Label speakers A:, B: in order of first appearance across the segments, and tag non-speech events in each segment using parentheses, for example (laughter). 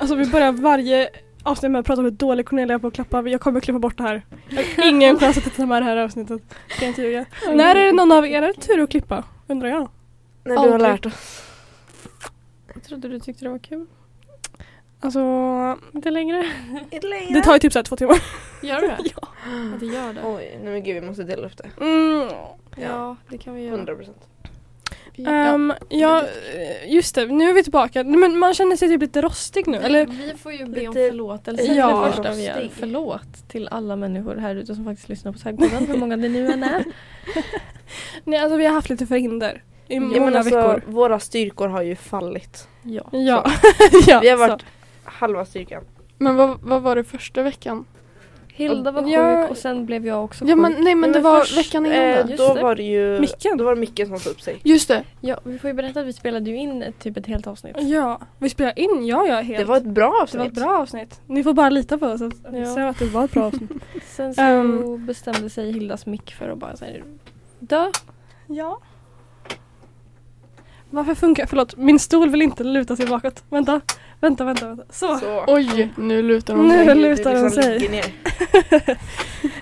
A: Alltså vi börjar varje avsnitt med att prata om hur dålig Cornelia är på att klappa. Jag kommer klippa bort det här. Jag har ingen chans att titta med det här avsnittet. Kan inte ljuga. När är det någon av er tur att klippa? Undrar jag.
B: När du har
A: Aldrig.
B: lärt (laughs) oss.
C: Jag trodde du tyckte det var kul.
A: Alltså,
C: Inte längre.
A: det tar ju typ så här två timmar.
C: Gör du det? (laughs) ja. Det gör det.
B: Oj, nej men gud vi måste dela upp det.
A: Mm.
C: Ja, det kan vi göra.
B: 100 procent.
C: Vi-
A: Ehm, ja, eh, just det. Nu är vi tillbaka. Nej, Men man känner sig typ lite rostig nu. Eller
D: Mm.
C: Vi får ju be om
B: Lite-
C: förlåtelse
A: Ja.
C: det första vi gör.
B: Rostig.
C: Förlåt till alla människor här ute som faktiskt lyssnar på Taggpodden, hur många det nu än är.
A: nej, alltså vi har haft lite förhinder i många
B: Ja, men alltså,
A: veckor.
B: Våra styrkor har ju fallit.
C: (laughs) Ja.
A: Ja. (laughs) ja.
B: Vi har
A: så.
B: varit halva styrkan.
D: Men vad, vad var det första veckan?
C: Hilda var
D: Ja.
C: sjuk och sen blev jag också
D: Ja
C: sjuk.
D: men nej men det var veckan innan
B: eh,
D: det.
C: Just
B: Då
C: det.
B: var det ju
A: Micken.
B: Då var det Micken som sa upp sig.
D: Just det.
C: Ja, vi får ju berätta att vi spelade ju in ett- typ ett helt avsnitt.
A: Ja, vi spelar in. Ja, ja, helt.
B: Det var ett bra
A: Det var ett
B: avsnitt.
A: bra avsnitt. Ni får bara lita på oss. Att
C: Ja.
A: ja. att det var ett bra (laughs) avsnitt.
C: Sen så
A: Ehm.
C: bestämde sig Hildas mick för att bara säga dö.
A: ja. Varför funkar... Förlåt, min stol vill inte luta sig bakåt. Vänta, vänta, vänta. vänta. Så.
B: Så. liksom
D: Oj, nu lutar de
A: Nu
D: sig.
A: lutar de sig.
B: ligger ner.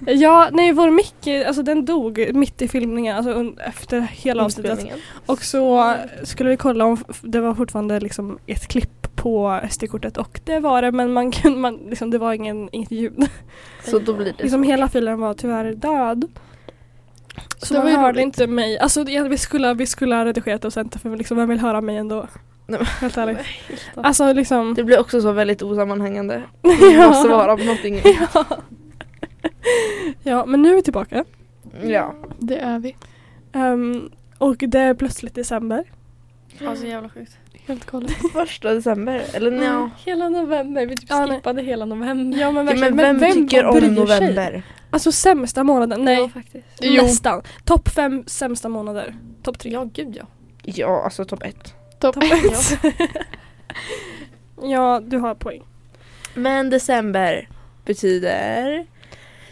A: Ja, nej, vår mick, eh, alltså den dog mitt i filmningen, alltså un- efter hela avsnittet.
B: Inspelningen.
A: Och så skulle vi kolla om f- det var fortfarande liksom ett klipp på SD-kortet och det var det men man kunde, man, liksom, det var ingen, inget ljud.
B: Så då blir det
A: Liksom hela filen var tyvärr död. Så
D: Det var
A: man
D: ju
A: hörde
D: roligt.
A: inte mig. Alltså det- vi skulle, vi skulle ha redigerat och sänt det, för liksom, vem vill höra mig ändå?
B: Nej, men-
A: Helt ärligt. Alltså liksom.
B: Det blir också så
A: (laughs)
B: väldigt osammanhängande. Vi måste vara på någonting.
A: ja. ja men nu är vi tillbaka.
B: Ja.
D: Det är vi.
A: Ehm, och det är plötsligt december.
C: Ja, så jävla sjukt.
D: Helt galet.
B: Första december. Eller nja. ja.
C: Mm, Hela november, vi typ
A: Ja, nej.
C: skippade hela november.
A: Ja men
B: Men
A: verkligen.
B: vem, tycker om
A: bryr sig?
B: november?
A: Alltså sämsta månaden.
C: Ja,
A: Nej,
C: faktiskt.
D: Jo.
A: nästan. Topp fem sämsta månader. Topp tre.
C: Ja, gud ja.
B: Ja, alltså topp ett.
D: (laughs) Topp
A: Topp ett. (laughs) ja, du har poäng.
B: Men december betyder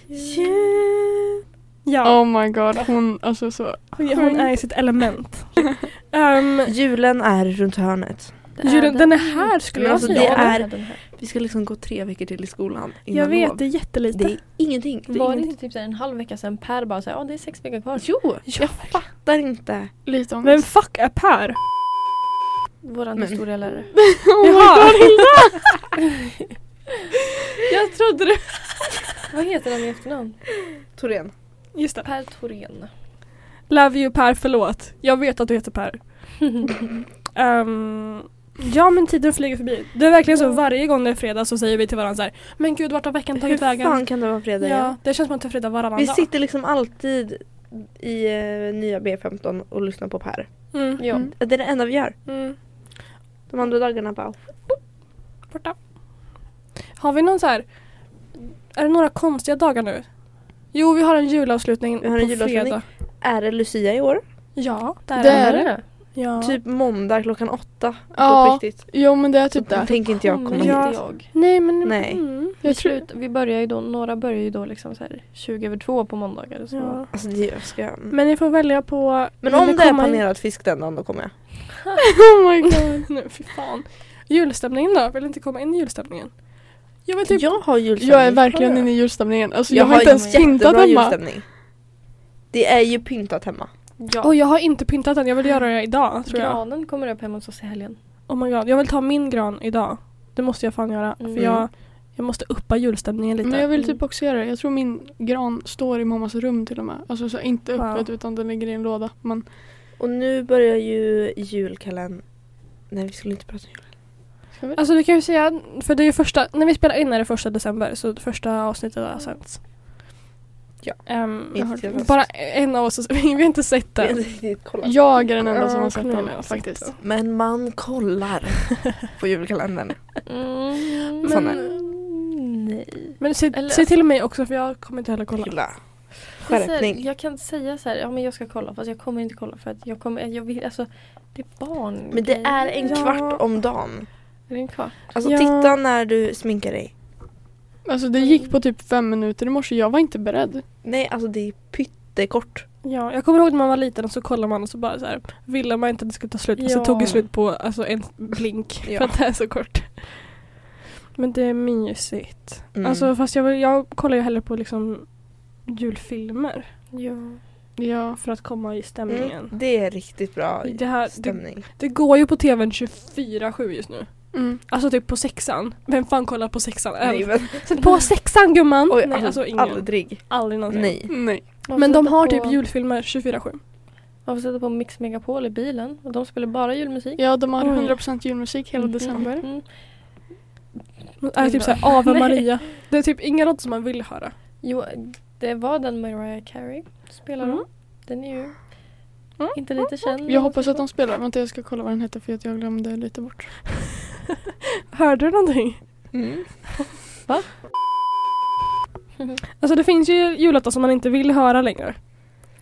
B: jul.
A: Ja,
D: Oh my god, hon alltså så.
A: hon hon är i sitt element. Ehm,
B: Julen är runt hörnet.
C: Det
A: julen, den är här skulle
B: Men
A: jag
B: alltså,
A: säga.
B: det
C: den
B: är-
C: den här.
B: Vi ska liksom gå tre veckor till i skolan innan
A: jag vet,
B: lov.
A: det är jättelite.
B: Det är ingenting. Det är
C: Var det
B: ingenting.
C: inte typ så här en halv vecka sedan Per bara såhär, ja det är sex veckor kvar.
B: Jo, jag fattar inte.
D: Lite ångest.
A: Vem fuck är Per?
C: Våran
B: Men-
C: historielärare.
A: Oh Jaha!
C: Jag trodde det. (laughs) Vad heter han i efternamn?
B: Torén.
A: (laughs) Just det.
C: Per Thorén.
A: Love you Per, förlåt. Jag vet att du heter Per. Ehm, ja men tiden flyger förbi. Det är verkligen så varje gång det är fredag så säger vi till varandra så här. Men gud vart har veckan
B: Hur
A: tagit vägen?
B: fan kan det vara fredag?
A: Ja, det känns som att det är fredag varannan
B: Vi
A: dag.
B: sitter liksom alltid i eh, nya B15 och lyssnar på Per.
A: Mm.
C: Ja.
D: Mm.
B: Det är det enda vi gör.
A: Mm.
B: De andra dagarna bara...
A: Borta. Har vi någon så här... Är det några konstiga dagar nu? Jo, vi har en julavslutning
B: Vi har en
A: på
B: julavslutning. Typ.
A: fredag.
B: Är det Lucia i år?
A: Ja, där
D: Det
A: är
D: är
A: det.
D: det.
A: Ja.
B: Typ måndag klockan åtta.
D: Ja.
B: På riktigt.
D: Jo men det är
B: Så
D: typ det.
B: tänker inte jag komma
C: Kommer
B: hit.
A: Ja.
C: inte jag.
A: Nej, men...
B: Nej.
A: Mm.
C: Vi,
D: Jag tror,
C: slut, vi börjar ju då, några börjar ju då liksom så här 20 över två på måndagar. Så.
A: Ja.
B: Alltså, det jag ska... Men,
A: Men ni får välja på...
B: om det är
A: kommer-
B: panerad fisk den dagen då kommer jag.
D: oh my god.
A: (laughs) Nej, fy fan. Julstämningen då? Vill inte komma in i julstämningen? Jag men typ...
B: Jag har julstämning.
D: Jag är verkligen inne i julstämningen. Alltså jag, har inte ens
B: jättebra
D: pyntat hemma.
B: julstämning. Det är ju pyntat hemma.
C: Ja.
A: Åh, jag har inte pyntat den. Jag vill göra det idag, tror jag.
C: Granen kommer upp hemma hos oss i helgen.
A: Oh my god. Jag vill ta min gran idag. Det måste jag fan göra.
C: Mm.
A: För jag, jag måste uppa julstämningen lite.
D: Men jag vill typ också göra det. Jag tror min gran står i mammas rum till och med. Alltså så inte
A: Wow.
D: öppet utan den ligger i en låda. Men
B: Och nu börjar ju julkalendern. Nej vi skulle inte prata om jul.
A: Alltså du kan ju säga, för det är ju första, när vi spelar in är det första december så det första avsnittet har sänts.
B: Ja.
A: Ehm,
B: Inte till oss.
A: bara en av oss, (laughs) vi har inte sett
B: (laughs) Vi har inte
A: den.
B: riktigt kollat.
D: jag är den enda som
A: Ja,
D: har sett
A: Cornelia
D: den
A: har sett
D: faktiskt.
B: Men man kollar
D: (laughs)
B: på julkalendern.
C: Mm,
B: Sån
C: men-
B: är
C: nej.
A: Men se,
C: Eller-
A: se till mig också för jag kommer inte heller kolla.
B: Kolla.
C: Det är så här,
B: Skärpning.
C: Jag kan säga så här, ja men jag ska kolla fast jag kommer inte kolla för att jag kommer, jag vill, alltså det är barn.
B: Men det är en
A: Ja.
B: kvart om dagen.
C: Är det en kvart?
B: Alltså
A: Ja.
B: titta när du sminkar dig.
D: Alltså det gick på typ fem minuter i morse. Jag var inte beredd.
B: Nej alltså det är pyttekort.
A: Ja, jag kommer ihåg när man var liten och så kollade man och så bara så här, ville man inte att det skulle ta slut. Men så
C: Ja.
A: tog det slut på alltså, en blink
B: Ja.
A: för att det är så kort. Men det är mysigt.
B: Mm.
A: Alltså fast jag, vill- jag kollar ju hellre på liksom julfilmer
C: Ja.
D: Ja.
A: för att komma i stämningen.
B: mm. Det är riktigt bra
A: Det, här, det,
B: stämning.
A: det går ju på tvn 24-7 just nu.
D: Mm.
A: Alltså typ på sexan. Vem fan kollar på sexan?
B: Nej,
A: Nej,
B: men,
A: Sätt på sexan gumman!
B: oj,
A: Nej, alltså ingen. Alltså. Aldrig,
B: aldrig.
A: någonsin.
B: Nej. Alltså,
D: Nej.
C: Man
A: Men
C: får
A: de
C: sätta
A: har
C: på-
A: typ julfilmer 24-7.
C: Man får sätta på Mix Megapol i bilen och de spelar bara julmusik.
D: Ja, de har
A: Oj.
D: 100% julmusik hela
C: Mm.
D: december.
C: Mm.
A: Det är typ såhär Ave Maria. Det är typ inga låtar som man vill höra.
C: Jo, det var den Mariah Carey spelade.
A: Mm.
C: Den är ju
A: Mm.
C: inte lite känd.
D: Jag hoppas att de spelar. Vänta, jag ska kolla vad den heter för att jag glömde lite bort.
A: Hörde du någonting?
B: Mm.
A: Alltså det finns ju jullåtar som man inte vill höra längre.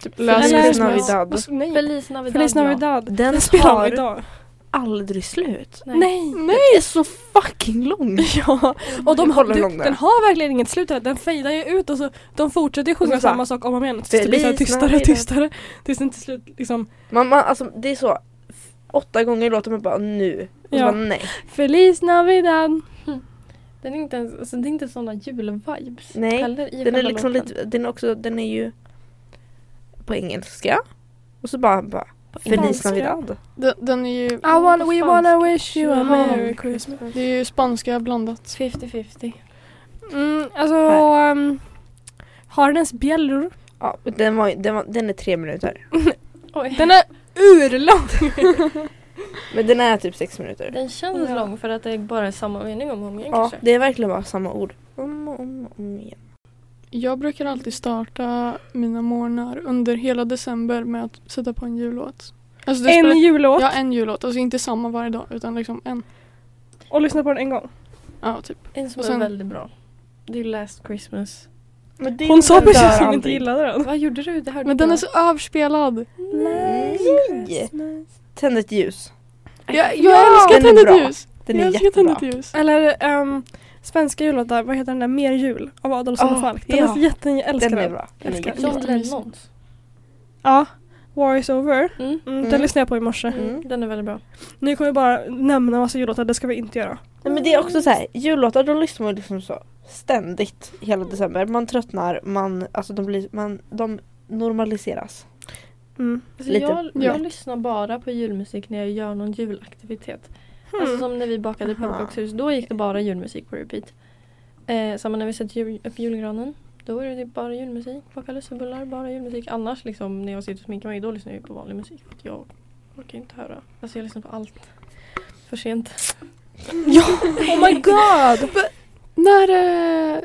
A: Typ
D: Last
A: Feliz
D: Christmas.
B: Navidad.
A: Vad- Nej.
C: Feliz Navidad.
A: Feliz
C: ja.
A: Navidad.
B: Den
A: Spelar de
B: tar
A: idag?
B: aldrig slut.
C: Nej.
A: Nej.
B: Det är så fucking lång.
A: (laughs) Ja, och de,
B: Jag kollar hur
A: du,
B: lång den är.
A: den har verkligen inget slut här. Den fejdar ju ut och så de fortsätter ju sjunga
B: Och så bara,
A: samma sak om och om igen. Tills det blir så här
B: Feliz
A: tystare och
B: Navidad.
A: tystare. Tills den till slut liksom
B: Man, man, alltså, det är så f- åtta gånger låter man bara nu. Och så
A: Ja.
B: bara, nej.
A: Feliz Navidad.
C: Den är inte ens, alltså, det är inte sådana julvibes
B: Nej,
C: heller i
B: Den är
C: själva
B: liksom
C: låten.
B: lite, den är också, den är ju på engelska. Och så bara, bara Feliz
A: Spanska.
B: Navidad.
D: Den, den är ju...
A: I wanna, we
C: fan.
A: wanna wish you a
C: Ja.
A: merry Christmas.
D: Det är ju spanska blandat.
C: 50-50.
A: Mm, alltså,
B: Här.
A: ehm, har den ens bjällror?
B: Ja, och den, var, den, var, den är tre minuter.
C: Oj. Den,
A: Den är urlång!
B: Men den är typ sex minuter.
C: känns
A: Ja.
C: lång för att det är bara samma mening om och om igen
B: Ja,
C: kanske.
B: det är verkligen bara samma ord. Om och om, och om igen.
D: Jag brukar alltid starta mina morgnar under hela december med att sätta på en jullåt. Alltså det
A: En
D: spelar-
A: jullåt
D: Ja, en jullåt. Alltså inte samma varje dag utan liksom en.
A: och lyssna på den en gång.
D: Ja, typ.
C: En som
D: Och sen-
C: är väldigt bra. Det är Last Christmas.
B: Men det
A: Hon sa precis
B: dör
A: att hon inte
B: aldrig.
A: gillade den.
C: Vad gjorde du? Det hörde
D: Men
C: inte
D: den är
C: jag.
D: så överspelad.
B: Nej! Tänd ett ljus.
D: Jag, jag
B: Ja!
D: älskar
B: Den är
D: Tänd ett
B: bra.
D: ljus.
B: Den
D: jag
B: är
D: älskar Tänd
B: jättebra.
D: ett ljus.
A: Eller ehm, svenska jullåtar, vad heter den där Mer jul av Adolfsson och
B: Ah,
A: Falk. Den
B: ja.
A: är jätten, jag älskar
B: Den
A: den.
B: är bra. Den är
A: Älskar den.
B: jättebra.
C: John Lennons.
A: Ja, War is over.
C: Mm.
A: Mm,
B: Mm.
A: Den lyssnade jag på i morse.
B: Mm.
C: Den är väldigt bra.
A: Nu kommer vi bara nämna massa jullåtar, det ska vi inte göra.
B: Nej, men det är också så här, jullåtar då lyssnar man liksom så ständigt hela december. Man tröttnar, man, alltså de, blir, man, de normaliseras.
A: Mm.
C: Alltså
B: Lite
C: jag,
D: lätt.
C: jag lyssnar bara på julmusik när jag gör någon julaktivitet. Alltså som när vi bakade
B: Aha.
C: pepparkakshus, då gick det bara julmusik på repeat. Eh, samma när vi sätter jul, upp julgranen, då är det typ bara julmusik. Bakar lussebullar, bara julmusik. Annars liksom när jag sitter och sminkar mig, då lyssnar jag ju på vanlig musik. För att jag orkar inte höra. Alltså jag lyssnar på allt. För sent.
A: Oh my god!
D: När... eh,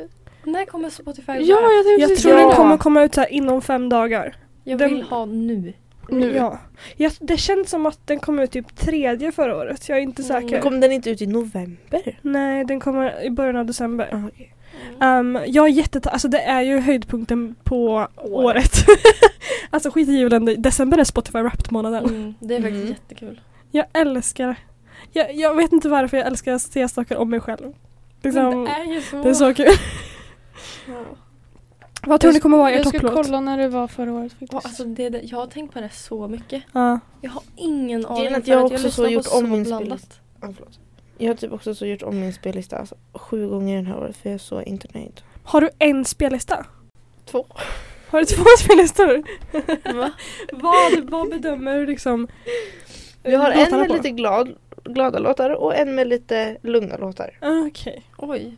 C: När kommer Spotify
D: Ja, jag tänkte
A: (laughs) Jag
D: precis
A: tror
B: Ja.
A: den
D: fråga.
A: kommer komma ut så här inom fem dagar.
C: Jag
A: den-
C: vill ha nu.
D: Nu.
A: Ja. Jag, det känns som att den kom ut typ tredje förra året, jag är inte
C: Mm.
A: säker.
B: Men kom den inte ut i november?
A: Nej, den kommer i början av december.
B: Okej.
A: Ehm, jag är jätteta- alltså det är ju höjdpunkten på året. (laughs) alltså skit i julen, det- december är Spotify Wrapped-månaden.
C: Mm, det är faktiskt
B: Mm.
C: jättekul.
A: Jag älskar det. Jag, jag vet inte varför jag älskar att se saker om mig själv. Liksom,
C: Men det är ju så.
A: det är så kul. Vad tror ni kommer vara er
D: Jag ska
A: topplåt?
D: kolla när det var förra året faktiskt.
C: Ja, alltså det, det, jag har tänkt på det så mycket.
A: Ja.
C: Jag har ingen aning.
B: att
C: för
B: jag också så
C: lyssnar på
B: gjort om min
C: blandat.
B: spellista. Ja, förlåt. Jag har typ också så gjort om min spellista alltså, sju gånger den här året för jag är så inte nöjd.
A: Har du en spellista?
B: Två.
A: Har du två (laughs) spellistor? vad, vad bedömer du liksom?
B: Jag har en
A: låtarna
B: med
A: på?
B: lite glad, glada låtar och en med lite lugna låtar.
A: Ah, Okej.
C: Oj.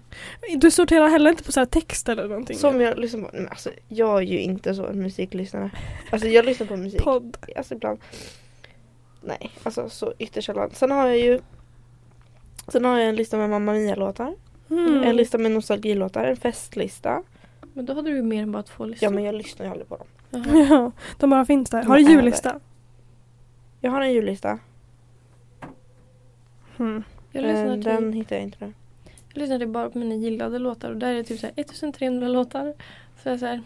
A: Du sorterar heller inte på så här text eller någonting?
B: Som jag lyssnar på. Nej, men alltså, jag är ju inte så en musiklyssnare. Alltså jag lyssnar på musik.
A: podd?
B: Alltså ibland. Nej, alltså så ytterst sällan. Sen har jag ju Sen har jag en lista med Mamma Mia-låtar,
A: Mm.
B: en lista med nostalgilåtar, en festlista.
C: Men då hade du ju mer än bara två listor.
B: Ja men jag lyssnar ju aldrig på dem.
C: Jaha.
A: Ja, (laughs) de bara finns där. Har
B: De
A: du
B: är
A: jullista?
B: Jag har en jullista.
A: Mm.
B: (laughs)
C: Jag lyssnar,
B: Eh,
C: till,
B: Den hittar jag inte nu.
C: jag lyssnar till bara på mina gillade låtar och där är det typ så här 1300 låtar. Så jag, är så här,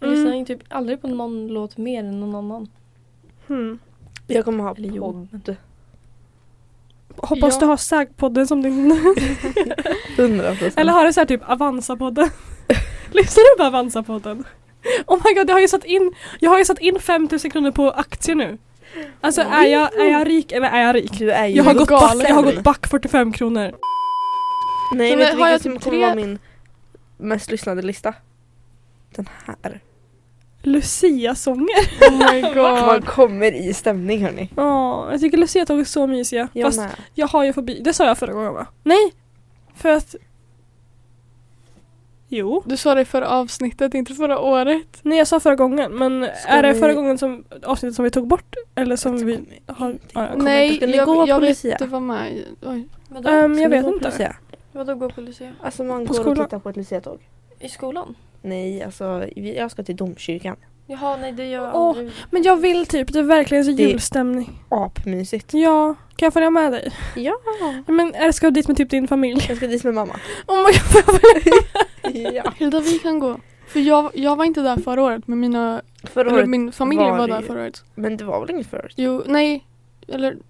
C: jag
A: Mm.
C: lyssnar ju typ aldrig på någon låt mer än någon annan.
A: Mm.
B: Jag kommer ha
C: Eller jo,
B: podd.
A: Hoppas
C: Ja.
A: du har SÄG-podden som din...
B: 100 procent.
A: Eller har du så här typ Avanza-podden? (laughs) Lyssnar du på Avanza-podden? Oh my god, jag har ju satt in, jag har ju satt in 5000 kronor på aktier nu. Alltså är jag, är jag rik eller är jag rik?
B: Du är ju
A: Jag har, gått
D: galen.
A: back, jag har gått back 45 kronor.
B: Nej
D: Så
B: vet
D: nu
B: du
D: har
B: vilken
D: jag
B: som
D: typ
B: kommer
D: tre-
B: vara min mest lyssnade lista? Den här.
A: Lucia-sånger.
D: Oh (laughs) my
B: Man
D: god.
B: kommer i stämning hörni.
A: Ja, jag tycker Lucia-tåg är så mysiga.
B: Jag
A: Fast
B: med.
A: jag har ju fobi. Det sa jag förra gången va? Nej! För att... Jo.
D: Du sa det i förra avsnittet, inte förra året.
A: Nej jag sa förra gången men
B: Ska
A: är det
B: vi-
A: förra gången som avsnittet som vi tog bort? Eller som
B: Jag
A: vi
B: kommer inte
A: har... Ja, ja.
B: ihåg.
D: Nej,
B: Ska ni gå
D: jag, jag
B: på
D: vill
B: Lucia?
D: inte vara med. i- Oj.
C: Vadå?
A: Ehm,
B: Ska
A: jag
B: vi
A: vet
B: gå på
A: inte.
B: Lucia?
C: Vadå gå på Lucia?
B: Alltså man
A: På
B: går
A: skolan?
B: och tittar på ett luciatåg.
C: I skolan?
B: Nej alltså vi- jag ska till domkyrkan.
C: Jaha, nej det gör jag
A: Åh.
C: aldrig.
A: Men jag vill typ, det är verkligen så
B: Det-
A: julstämning.
B: Apmysigt.
A: Ja, kan jag följa med dig?
B: Ja.
A: Men är det ska du dit med typ din familj?
B: Jag ska dit med mamma.
A: Oh my god, får jag följa med?
B: (laughs) ja.
D: Hilda, vi kan gå. För jag, jag var inte där förra året, men mina,
B: Förra
D: eller
B: året.
D: min familj
B: var
D: var där
B: ju-
D: förra året.
B: Men det var väl inget förra året?
D: Jo, nej. Eller
B: Förra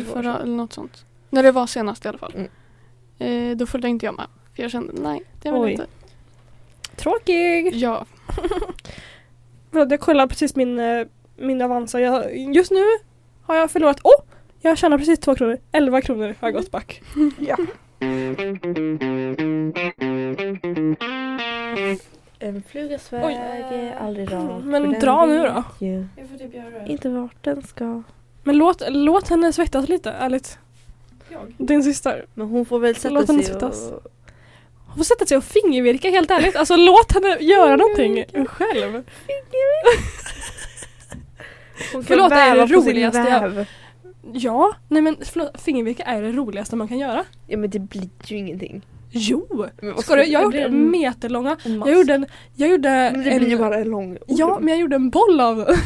D: förrförra
B: året.
D: eller något sånt. När det var senast i alla fall.
B: Mm.
D: Eh, då följde inte jag med. För jag kände, nej, det vill
B: Oj.
D: jag inte.
A: Tråkig!
D: Ja.
A: Förlåt, jag kollar precis min, eh, min Avanza. Jag, just nu har jag förlorat... Åh! Oh! Jag tjänar precis två kronor. 11 kronor har jag gått back.
B: Ja. En fluga
A: Oj.
B: sväg är aldrig rak.
A: Mm, Men
B: för den
A: dra nu
B: vet
A: då.
B: ju
C: Jag får typ göra det.
B: Inte vart den ska.
A: Men låt, låt henne svettas lite, ärligt.
C: Jag?
A: Din syster.
B: Men hon får väl sätta
A: Låt henne
B: sig
A: svettas.
B: och...
A: Hon får sätta sig och fingervirka, helt ärligt. Alltså låt henne göra
B: Oh
A: någonting själv.
B: Hon
A: Förlåt, det är det
B: väva på sin
A: roligaste jag-
B: väv.
A: Ja, nej men förlåt, fingervirka är det roligaste man kan göra.
B: Ja men det blir ju ingenting.
A: Jo!
B: Men vad
A: Ska du? Jag har
C: det
A: gjort
C: blir en-
A: meterlånga.
C: En mask.
A: Jag gjorde en... Jag gjorde
B: Men det
A: en,
B: blir ju bara en lång
A: Ja, men jag gjorde en boll av
B: (laughs)
A: den.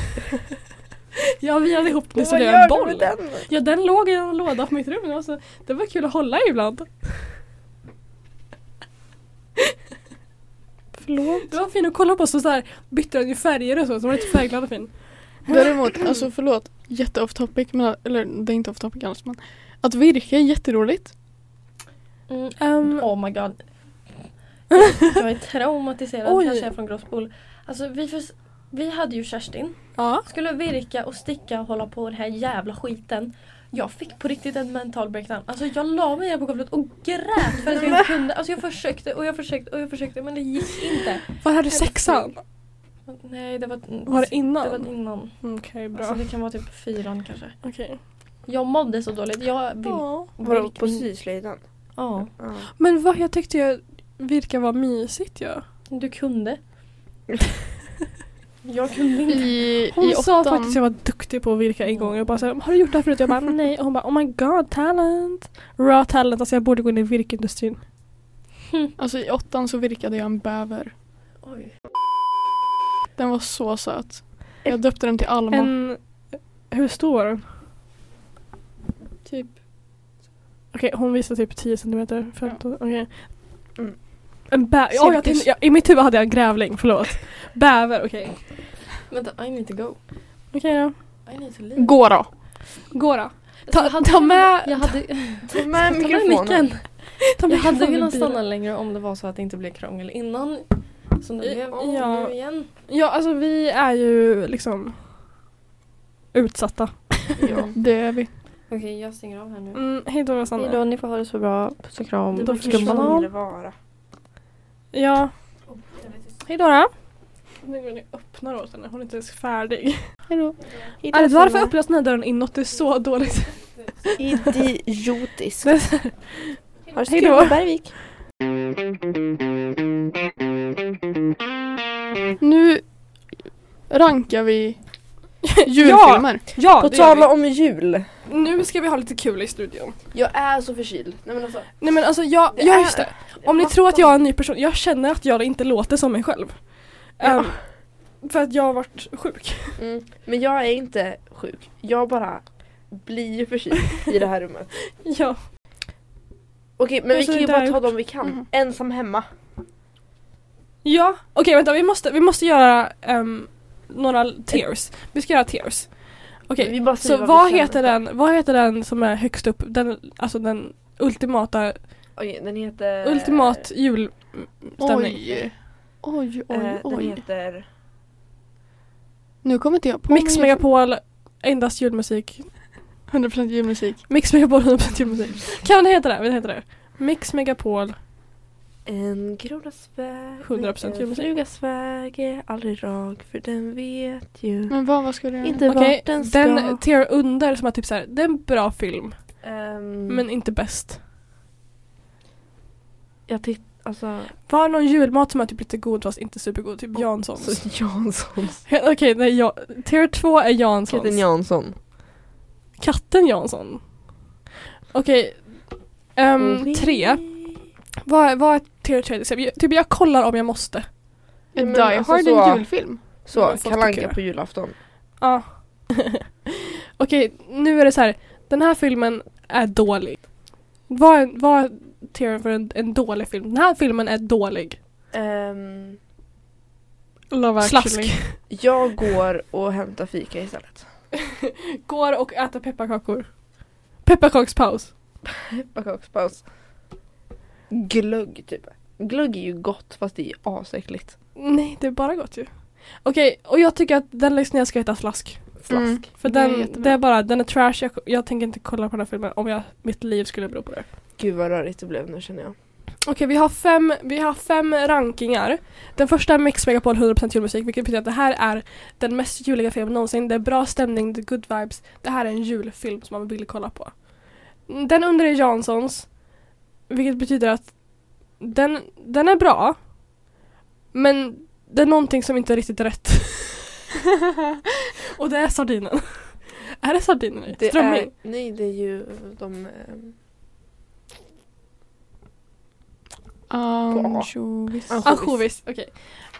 A: Jag virade ihop den
B: Och
A: så
B: vad
A: det blev
B: gör
A: en
B: du
A: boll.
B: med den?
A: Ja, den låg i en låda på mitt rum. Alltså, det var kul att hålla i ibland. Förlåt. Det var fin att kolla på så, så här bytte den ju färger och så, så var lite färgglad och fin.
D: Däremot, alltså förlåt, jätte off topic, men, eller det är inte off topic alls men att virka är jätteroligt.
C: Mm.
A: Ehm,
C: Oh my god.
B: (laughs)
C: Jag är traumatiserad
A: Oj.
C: kanske jag är från Gråsbol. Alltså vi, förs- vi hade ju Kerstin.
A: ja.
C: Skulle virka och sticka och hålla på den här jävla skiten. Jag fick på riktigt en mental breakdown. Alltså jag la mig ner på golvet och grät för
A: (laughs)
C: att jag inte kunde. Alltså jag försökte och jag försökte och jag försökte men det gick inte.
A: Var hade du sexan?
C: Nej det var...
A: Var det
C: Det var
A: innan?
C: innan.
A: Okej, bra.
C: Alltså det kan vara typ fyran kanske.
A: Okej.
C: Jag mådde så dåligt. Jag vill...
A: Ja.
B: Vadå, på syslöjden?
C: Ja.
B: Ja.
A: Men vad, jag tyckte jag virka var mysigt ju. Ja.
C: Du
A: (laughs)
C: kunde. jag kunde inte.
D: I,
A: Hon
D: i
A: sa
D: åttan.
A: faktiskt att jag var duktig på att virka en gång. Jag bara så här, har du gjort det här förut? Jag (laughs) bara nej. Och hon bara oh my god talent. Raw talent. Alltså jag borde gå in i virkindustrin.
D: Alltså i åttan så virkade jag en bäver.
C: Oj.
D: Den var så söt. Jag döpte den till Alma.
A: En, hur stor var den?
D: Typ.
A: Okej hon visade typ 10 centimeter. 15, okej.
B: Mm.
A: En bäver. Oh, jag
D: Cirkus.
A: tänkte, ja, I mitt huvud hade jag en grävling, förlåt. Bäver, okej.
C: Vänta, I need to go.
A: Okej då.
C: I need to leave.
D: Gå då.
A: Gå då.
C: Så
A: Ta,
C: Alltså, jag hade
A: ta
C: kunnat-
A: med,
C: Jag hade,
B: Ta med
C: ta med micken.
B: mikrofonen.
A: ta med
C: Jag hade
A: mikrofonen i bilen.
C: kunnat stanna längre om det var så att det inte blev krångel innan. Som det
A: I-
C: blev. Åh,
A: ja.
C: nu igen.
A: Ja alltså vi är ju liksom utsatta.
B: Ja.
D: Det är vi.
C: (laughs) Okej, jag stänger av här nu.
A: Mm, hej då Rosanna.
C: Hejdå, ni får ha det så bra. Puss och kram.
B: Det
A: Då
B: var kanske
A: försvann
B: man
A: hon.
B: ville vara.
A: Ja. Hej då. då. Nu går ni och öppnar åt henne, hon är inte ens färdig.
D: Hejdå.
A: Alltså, varför öppnas den här dörren inåt? Det är så dåligt. (laughs)
B: Idiotisk. Ha det så
A: Hej
B: kul
A: då.
B: på Bergvik.
D: Nu
B: (laughs)
D: rankar vi julfilmer.
A: Ja,
B: På
A: det gör
B: tala om jul.
A: vi. Nu ska vi ha lite kul i studion.
B: Jag är så förkyld. Nej men alltså.
A: Nej men alltså jag,
B: Det
A: ja
B: är-
A: just det. Om ni tror att jag är en ny person, jag känner att jag inte låter som mig själv. Ehm, för att jag har varit sjuk.
B: Mm. Men jag är inte sjuk. Jag bara blir ju förkyld i det
A: (laughs)
B: här rummet.
A: Ja.
B: Okej men vi
A: Alltså,
B: kan ju
A: det
B: bara
A: är
B: ta dem vi kan.
A: Mm.
D: Mhm.
B: Ensam hemma.
A: Ja, okej vänta vi måste, vi måste göra ehm, några tears. Vi ska göra tears. Okej,
B: Vi bara
A: så
B: säger
A: vad
B: vi
A: heter
B: känner.
A: den, vad heter den som är högst upp, den, alltså den ultimata,
B: Eh. Okej den heter...
A: ultimat julstämning?
D: Oj. Oj,
B: eh,
D: oj,
B: Den
D: oj.
B: heter...
D: Nu kommer inte jag på
A: Mix
D: någon
A: Megapol, endast julmusik.
D: jul- 100% julmusik.
A: (laughs) Mix Megapol 100% julmusik. Kan den heta det? Vad heter det? Mix Megapol.
B: En kronas väg,
A: 100%
B: en
A: julmusik.
B: flugas väg är aldrig rak för den vet ju
D: Men vad, vad ska du göra?
B: inte
A: Okej,
B: vart den ska.
A: den tear under som att typ så här, det är en bra film
B: Ehm,
A: men inte bäst.
B: jag tyckte alltså...
A: Var någon julmat som är typ lite god fast inte supergod? Typ Janssons.
B: Så (laughs) Janssons.
A: (laughs) Okej, nej, ja, tier 2 är Janssons.
B: Katten Jansson.
A: Katten Jansson. Okej, ehm,
B: Mm.
A: tre. Vad är, vad är tier 3? Typ jag kollar om jag måste.
D: Är
B: Men
D: Eh, Die
B: alltså
D: Hard
B: så-
D: en julfilm?
A: Men
B: Så,
A: folk
B: Kalle
A: tycker
B: Anka
A: det.
B: på julafton.
A: Ja. (laughs) Okej, nu är det så här. Den här filmen är dålig. Vad är, vad är teorin för en, en dålig film? Den här filmen är dålig.
B: Ehm,
D: Love
A: Slask.
B: jag går och hämtar fika istället.
A: (laughs) Går och äter pepparkakor. Pepparkakspaus.
B: Pepparkakspaus. Typ Glögg typ. Glögg är ju gott fast det är asäckligt.
A: Nej, det är bara gott ju. Okej, och jag tycker att den längst ner ska heta Slask.
B: Slask.
D: Mm.
A: För
D: Det är
A: den,
D: jättebra.
A: det är bara, den är trash. Jag, jag tänker inte kolla på den här filmen om jag, mitt liv skulle bero på det.
B: Gud vad rörigt det blev nu känner jag.
A: Okej, vi har fem, vi har fem rankingar. Den första är Mix Megapol 100% julmusik, vilket betyder att det här är den mest juliga filmen någonsin. Det är bra stämning, det är good vibes. Det här är en julfilm som man vill kolla på. Den under är Janssons, vilket betyder att den, den är bra, men det är någonting som inte är riktigt
B: (laughs)
A: rätt. Och det är sardinen. Är det sardinen i?
B: Det
A: Eh, Strömming?
B: är, nej det är ju de... ehm,
D: Anchovies.
B: Anchovies.
A: Ansjovis, okej.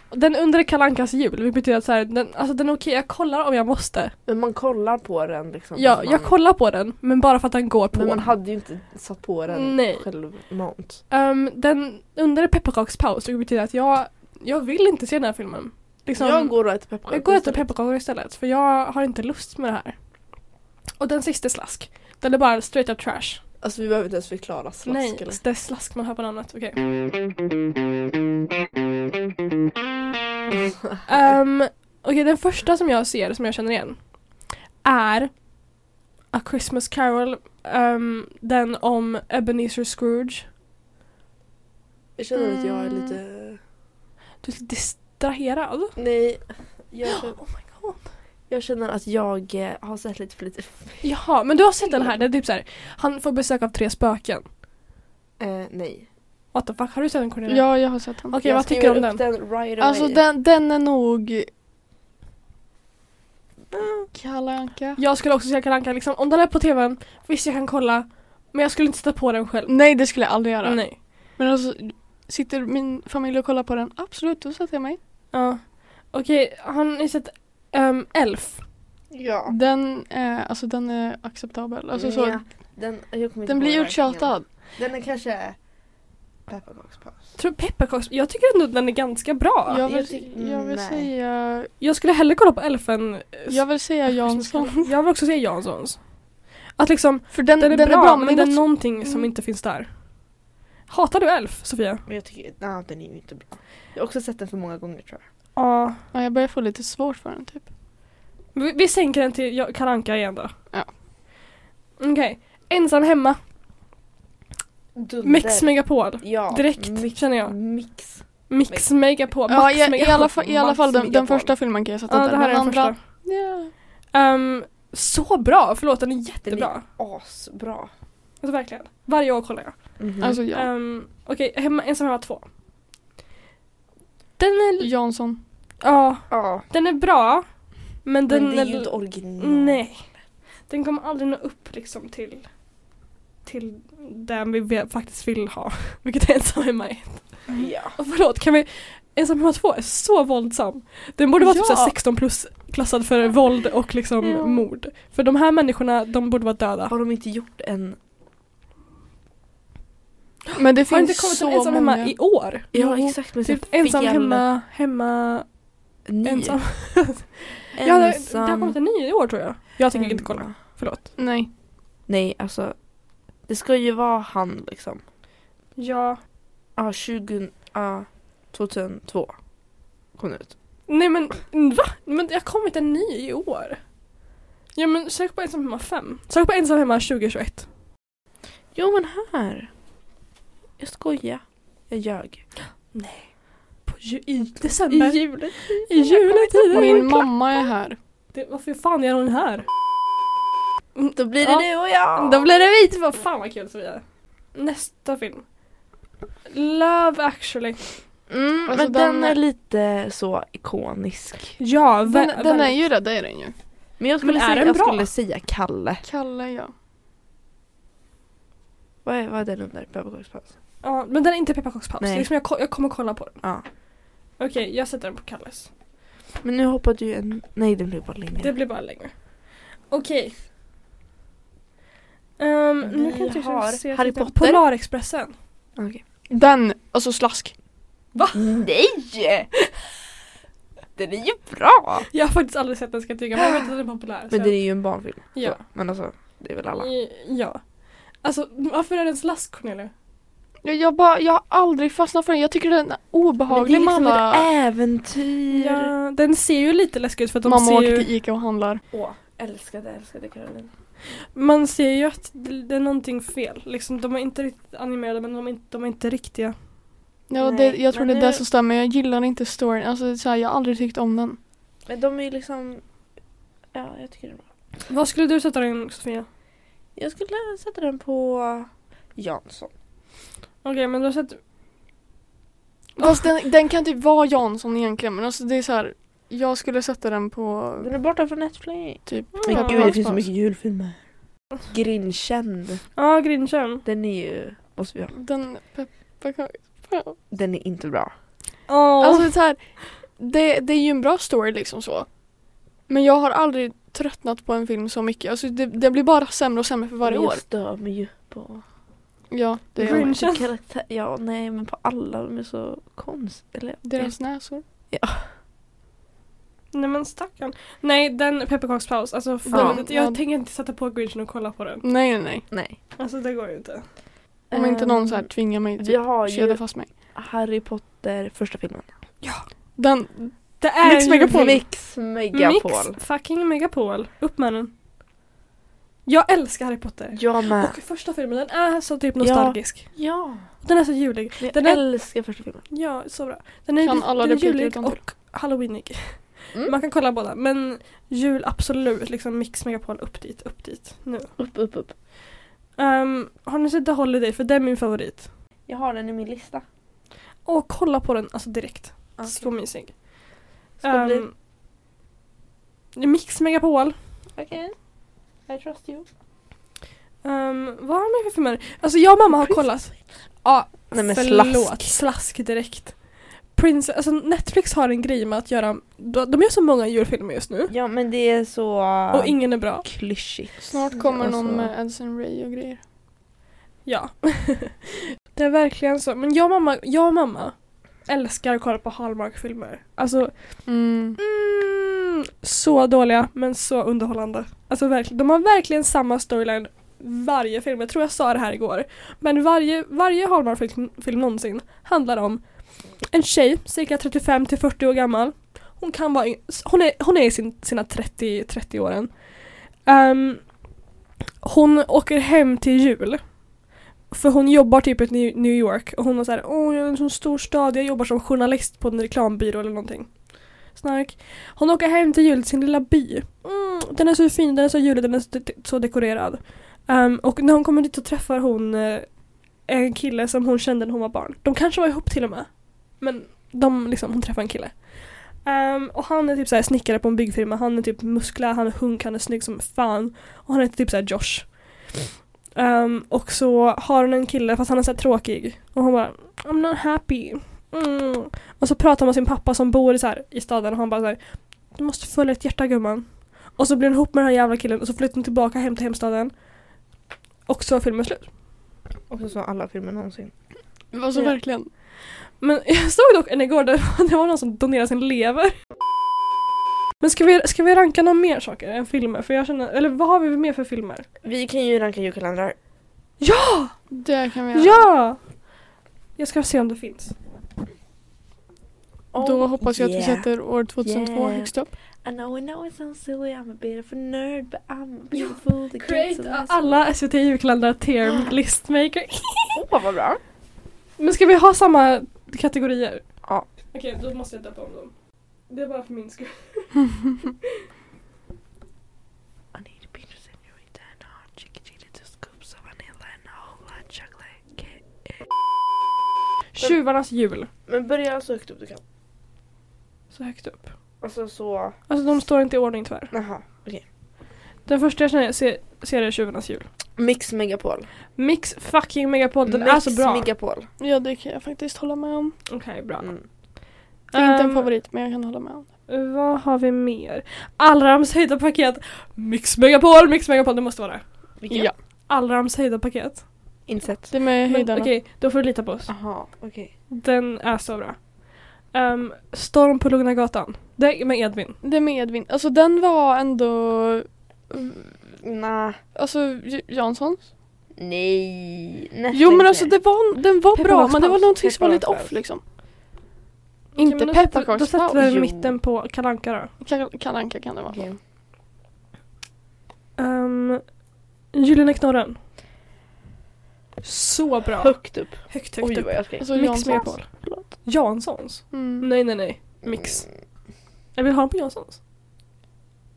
A: Den undre Kalankas jul, vilket betyder att så här, den, alltså den är okej, jag kollar om jag måste.
B: Men man kollar på den liksom.
A: Ja,
B: man,
A: jag kollar på den, men bara för att den går på.
B: Men man hade ju inte satt på den
A: Nej.
B: självmant.
A: Ehm, den undre pepparkakspaus, vilket betyder att jag, jag vill inte se den här filmen. Liksom,
B: jag går och äter pepparkakor.
A: jag går och äter
B: istället.
A: pepparkakor istället, för jag har inte lust med det här. Och den sista är slask. Den är bara straight up trash.
B: Alltså vi behöver inte ens förklara slask
A: Nej,
B: eller?
A: det är slask man hör på namnet, okej.
B: Mm.
A: Ehm, okej, den första som jag ser, som jag känner igen, är A Christmas Carol, ehm, den om Ebenezer Scrooge.
B: Jag känner att jag är
A: Mm.
B: lite...
A: Du är lite distraherad.
B: Nej. Jag känner,
A: Oh my god.
B: jag känner att jag eh, har sett lite för lite film.
A: Jaha, men du har sett den här, det är typ såhär, han får besök av tre spöken.
B: Eh, nej.
A: What the fuck, har du sett den Cornelia?
D: Ja, jag har sett den.
A: Okej,
B: jag
A: vad tycker
B: skriver
A: du om
B: upp
A: den?
B: den right away.
D: Alltså den, den är nog... Kalle Anka.
A: Jag skulle också säga Kalle Anka, liksom, om den är på tvn, visst jag kan kolla, men jag skulle inte sätta på den själv.
D: Nej, det skulle jag aldrig göra.
A: Nej.
D: Men alltså, sitter min familj och kollar på den? Absolut, då sätter jag mig.
A: Ja. Okej, har ni sett ehm, Elf?
B: Ja.
D: Den är, alltså, den är acceptabel. Alltså,
B: Ja,
D: så,
B: Den, jag kommer inte
D: den blir
B: ihåg verkligen.
D: uttjatad.
B: Den är kanske pepparkakspaus.
A: Tror pepparkaks... Jag tycker ändå att den är ganska bra.
D: Jag
B: jag tyck-
A: typ-
D: vill, jag vill
B: nej.
D: säga...
A: Jag skulle hellre kolla på Elfen. eh,
D: Jag vill säga Jansson.
A: (laughs) Jag vill också säga Janssons. Att liksom,
D: För den,
A: den är bra, men det är
D: något-
A: någonting som
D: Mm.
A: inte finns där. Hatar du Elf, Sofia?
B: Men jag tycker, nej den är ju inte bra. Jag har också sett den för många gånger tror jag.
A: Ja.
D: Ja, jag börjar få lite svårt för den typ.
A: Vi, vi sänker den till Ja- Kalle Anka igen då.
D: Ja.
A: Okej. Ensam hemma.
B: Dunder.
A: Mix Megapol.
B: Ja.
A: Direkt,
B: Mix,
A: känner jag.
B: mix.
A: Mix Megapol.
D: Ja,
A: Max
D: i, i
A: Megapol.
D: alla fall, i alla fall den, den
B: Megapol.
D: första filmen kan jag sätta
A: Ja,
D: där.
A: det här är
D: men
A: den första.
D: Ja.
A: Ehm, så bra! Förlåt, den är jättebra.
B: Asbra.
A: Alltså verkligen. Varje år kollar jag.
B: mm
D: Alltså ja.
A: Ehm, Okej, hemma, ensam hemma två. Den är,
D: Jansson.
A: ja,
B: ja.
A: den är bra. Men den
B: Men det är ju
A: är-
B: inte original.
A: Nej. Den kommer aldrig nå upp liksom till till den vi ve- faktiskt vill ha. (laughs) Vilket är ensam hemma ett.
B: Ja.
A: Och förlåt, kan vi... Ensam hemma två är så våldsam. Den borde vara typ
D: Ja.
A: typ 16 plus klassad för våld och liksom
D: Ja.
A: mord. För de här människorna, de borde vara döda.
B: Har de inte gjort en?
D: Men det
A: Har
D: finns
A: inte kommit en
D: så
A: ensam
D: många.
A: hemma i år?
B: Ja
A: Jo.
B: exakt men
A: Typ
B: så fel-
A: ensam hemma, hemma,
B: Ny.
A: ensam. Ja, det, det har
B: Ensam.
A: kommit en ny i år tror jag. Jag tänker inte kolla.
B: hemma.
A: Förlåt.
D: Nej.
B: Nej alltså. Det ska ju vara han liksom.
A: Ja.
B: Ja 20, ja 2002. Kom den ut.
A: Nej men va? Men det har kommit en ny i år. Ja men sök på ensam hemma 5. Sök på ensam hemma 2021.
B: Jo men här. Jag skojar. Jag ljög.
A: På ju, I december? I,
B: julet.
A: juletider?
D: Min mamma är här.
A: Det, varför fan är hon här?
B: Då blir det
A: Ja.
B: du och jag.
A: Då blir det vi två. Fan vad kul Sofia. Nästa film. Love actually.
B: Mm,
D: Alltså,
B: men den
D: den-
B: är lite så ikonisk.
A: Ja,
D: Den, den är ju det, det är den ju.
B: Men jag skulle,
A: Men är
B: säga,
A: den
B: jag
A: bra?
B: skulle säga Kalle.
D: Kalle ja.
B: Vad är, vad är den under? Pepparkakspaus?
A: Ja, men den är inte pepparkakspaus. Det
B: Nej.
A: är Liksom jag, ko- jag kommer kolla på den.
B: Ja.
A: Okej, jag sätter den på Kalles.
B: Men nu hoppade ju en... Nej den blev bara längre.
A: Det blir bara längre. Okej. Ehm, nu kan
B: Vi
A: jag inte
B: har
A: se
B: Harry
A: titeln.
B: Potter.
A: Polarexpressen.
B: Okej.
D: Den, alltså slask.
B: Nej! Den är ju bra!
A: Jag har faktiskt aldrig sett den ska jag tycka men jag vet att den är populär. så
B: Men
A: jag-
B: det är ju en barnfilm.
A: ja.
B: Så, Men alltså, det är väl alla.
A: I- ja. Alltså varför är den slask Cornelia?
D: Jag, jag, bara, jag har aldrig fastnat för den. Jag tycker den är obehaglig
A: liksom
D: med alla...
B: liksom äventyr.
A: Ja, den ser ju lite läskig ut för att de
D: Mamma
A: ser
D: åker
A: ju...
D: till Ica och handlar.
B: Åh, älskade, älskade Caroline.
A: Man ser ju att det det är någonting fel. Liksom, de är inte riktigt animerade men de är inte, de är inte riktiga.
D: Ja,
B: Nej,
D: det, jag tror det
B: men
D: är det
B: nu-
D: som stämmer. Jag gillar inte storyn. Alltså, det är så här, jag har aldrig tyckt om den.
B: Men de är ju liksom... Ja, jag tycker det är bra.
A: Vad skulle du sätta den Sofia?
B: Jag skulle sätta den på Jansson.
A: Okej men du har sett... (laughs)
D: Fast den, den kan typ vara Jansson egentligen. Men alltså, det är så här, jag skulle sätta den på
B: Den är borta från Netflix.
D: typ...
A: Men gud,
B: julfilmer. Grinkänd.
A: Ja, Grinchen.
B: Den är ju... Måste vi ha.
D: Den pepparkaks...
B: Den är inte bra.
A: Åh.
D: Alltså så här, det, det är ju en bra story liksom så. Men jag har aldrig tröttnat på en film så mycket. Alltså det, det blir bara sämre och sämre för varje
B: Men
D: år.
B: Jag stör mig ju på...
D: Ja, det är
A: Grinch.
D: jag.
A: Grinchen.
B: på karaktär. Ja, nej men på alla. De är så konst... Eller...
D: Deras näsor.
A: Nej men stackarn. Nej den pepparkakspaus, alltså
B: Ja.
A: fan, jag
D: Ja.
A: tänker inte sätta på Grinchen och kolla på den.
D: Nej, nej, nej.
B: Nej.
A: Alltså det går ju inte.
D: Om inte någon
B: Ehm,
D: så här tvingar mig
B: Vi
D: typ,
B: har
D: kedja
B: ju
D: fast mig.
B: Harry Potter, första filmen.
D: Den,
A: Det är
D: Mix
A: ju-
D: Megapol.
B: Mix Megapol.
A: Mix fucking megapol. Upp med den. Jag älskar Harry Potter.
B: Jag med.
A: Och första filmen den är så typ nostalgisk.
B: Ja.
A: Den är så julig.
B: Jag
A: Den är-
B: älskar första filmen.
A: Ja, så bra. Den är,
D: Kan
A: lite-
D: alla
A: den är
D: repliker
A: julig
D: utantill?
A: och halloweenig.
B: Mm.
A: Man kan kolla båda men jul absolut liksom Mix Megapol upp dit, upp dit nu.
B: Upp, upp, upp.
A: Ehm, har ni sett The Holiday? För det är min favorit.
B: Jag har den i min lista.
A: Och kolla på den alltså direkt. Så
B: Okej.
A: mysig.
B: Så blir-
A: Ehm, Mix Megapol.
B: Okej. I trust you.
A: Um, vad har ni för filmer? Alltså jag och mamma har kollat. Ja,
B: Nej, men
A: förlåt.
B: slask.
A: Slask direkt. Prince, alltså Netflix har en grej med att göra, de gör så många julfilmer just nu.
B: Ja men det är så... um,
A: Och ingen är bra.
B: klyschigt.
D: snart kommer
B: Alltså,
D: någon eh, med Edson Ray och grejer.
A: Ja. (laughs) det är verkligen så. Men jag och mamma, jag och mamma älskar att kolla på Hallmark-filmer. Alltså,
D: Mm.
A: mm, så dåliga men så underhållande. Alltså verkligen, de har verkligen samma storyline varje film. Jag tror jag sa det här igår. Men varje, varje Hallmark-film film någonsin handlar om en tjej, cirka 35 till 40 år gammal. Hon kan vara, yng- hon är, hon är i sin, sina 30, 30 åren. Ehm, hon åker hem till jul. För hon jobbar typ i ett New New York och hon var såhär åh jag är en sån stor stad, jag jobbar som journalist på en reklambyrå eller någonting. Snark. Hon åker hem till jul till sin lilla by. Mm, den är så fin, den är så julig, den är så, de- så dekorerad. Ehm, och när hon kommer dit så träffar hon eh, en kille som hon kände när hon var barn. De kanske var ihop till och med. Men de, liksom, hon träffar en kille. Ehm, och han är typ såhär snickare på en byggfirma, han är typ muskler, han är hunk, han är snygg som fan. Och han heter typ såhär Josh. Ehm, och så har hon en kille fast han är såhär tråkig. Och hon bara I'm not happy. Mm. Och så pratar hon med sin pappa som bor i, så här, i staden och han bara så här, Du måste följa ett hjärta gumman. Och så blir hon ihop med den här jävla killen och så flyttar hon tillbaka hem till hemstaden. Och så är filmen slut.
B: Också så alla filmer någonsin.
D: Alltså
A: Ja.
D: verkligen.
A: Men (laughs) jag såg dock en igår där det var någon som donerade sin lever. Men ska vi, ska vi ranka några mer saker än filmer? För jag känner, eller vad har vi mer för filmer?
B: Vi kan ju ranka julkalendrar.
D: Det kan vi
A: Ja!
D: göra.
A: Jag ska se om det finns.
D: Då
B: Oh,
D: hoppas jag att vi
B: yeah.
D: sätter år 2002
B: Yeah.
D: högst upp.
B: I know, I know it sounds silly, I'm a bit of a nerd but I'm beautiful. the kids
A: Create
B: are nice.
A: alla SVT julkalendrar tier listmaker.
B: Åh vad bra.
A: Men ska vi ha samma kategorier?
B: Ja.
A: Okej, då måste jag döpa om dem. Det är bara för min
B: (laughs)
A: skull.
B: I need a pizza senorita and a hot chicken chili, two scoops of vanilla and a whole lot of chocolate cake.
A: Tjuvarnas jul.
B: Men börja så högt upp du kan.
A: Så högt upp.
B: Alltså så...
A: Alltså de står inte i ordning tyvärr.
B: Jaha.
A: Den första jag känner ser, ser är Tjuvarnas jul.
B: Mix Megapol.
A: Mix fucking megapod, den
D: alltså
A: är så bra. Okej,
B: Megapol.
D: Ja det kan jag faktiskt hålla med om.
A: bra.
B: Mm.
D: Det är inte en
A: Ehm,
D: favorit men jag kan hålla med om det.
A: Vad har vi mer? Allrams höjda paket. Mix megapol, mix megapol, det måste vara det.
B: Vilken?
D: Ja.
A: Allrams höjda paket.
B: Insett.
D: Det med
A: Men Okej,
D: höjdarna.
A: då får du lita på oss.
B: Jaha, okej.
A: Den är så bra. Ehm, Storm på Lugna gatan. Det är med Edvin.
D: Det med Edvin. Alltså den var ändå...
B: Nah.
D: Alltså J- Janssons.
B: Nej. Nästa
D: Jo men alltså det var, den var bra men det var
A: Pepparkakspaus.
D: någonting som var lite
B: Pepparkakspaus.
D: off liksom.
A: Okej, men
D: Inte
A: då sätter- Då sätter vi
D: pepparkakspaus.
A: den i
B: Jo.
A: mitten på Kalle Anka då.
D: Ka- Kalle Anka kan det vara.
B: Okej.
A: Um, Gyllene knorren. Så bra.
B: Högt upp.
A: Högt, högt
B: Oj
A: upp.
B: vad jag skrek.
D: Alltså
A: Mix
D: Janssons.
A: Megapol.
B: Förlåt.
A: Janssons?
D: Mm.
A: Nej, nej, nej.
B: Mm,
A: Mix. Jag vill ha den på Janssons.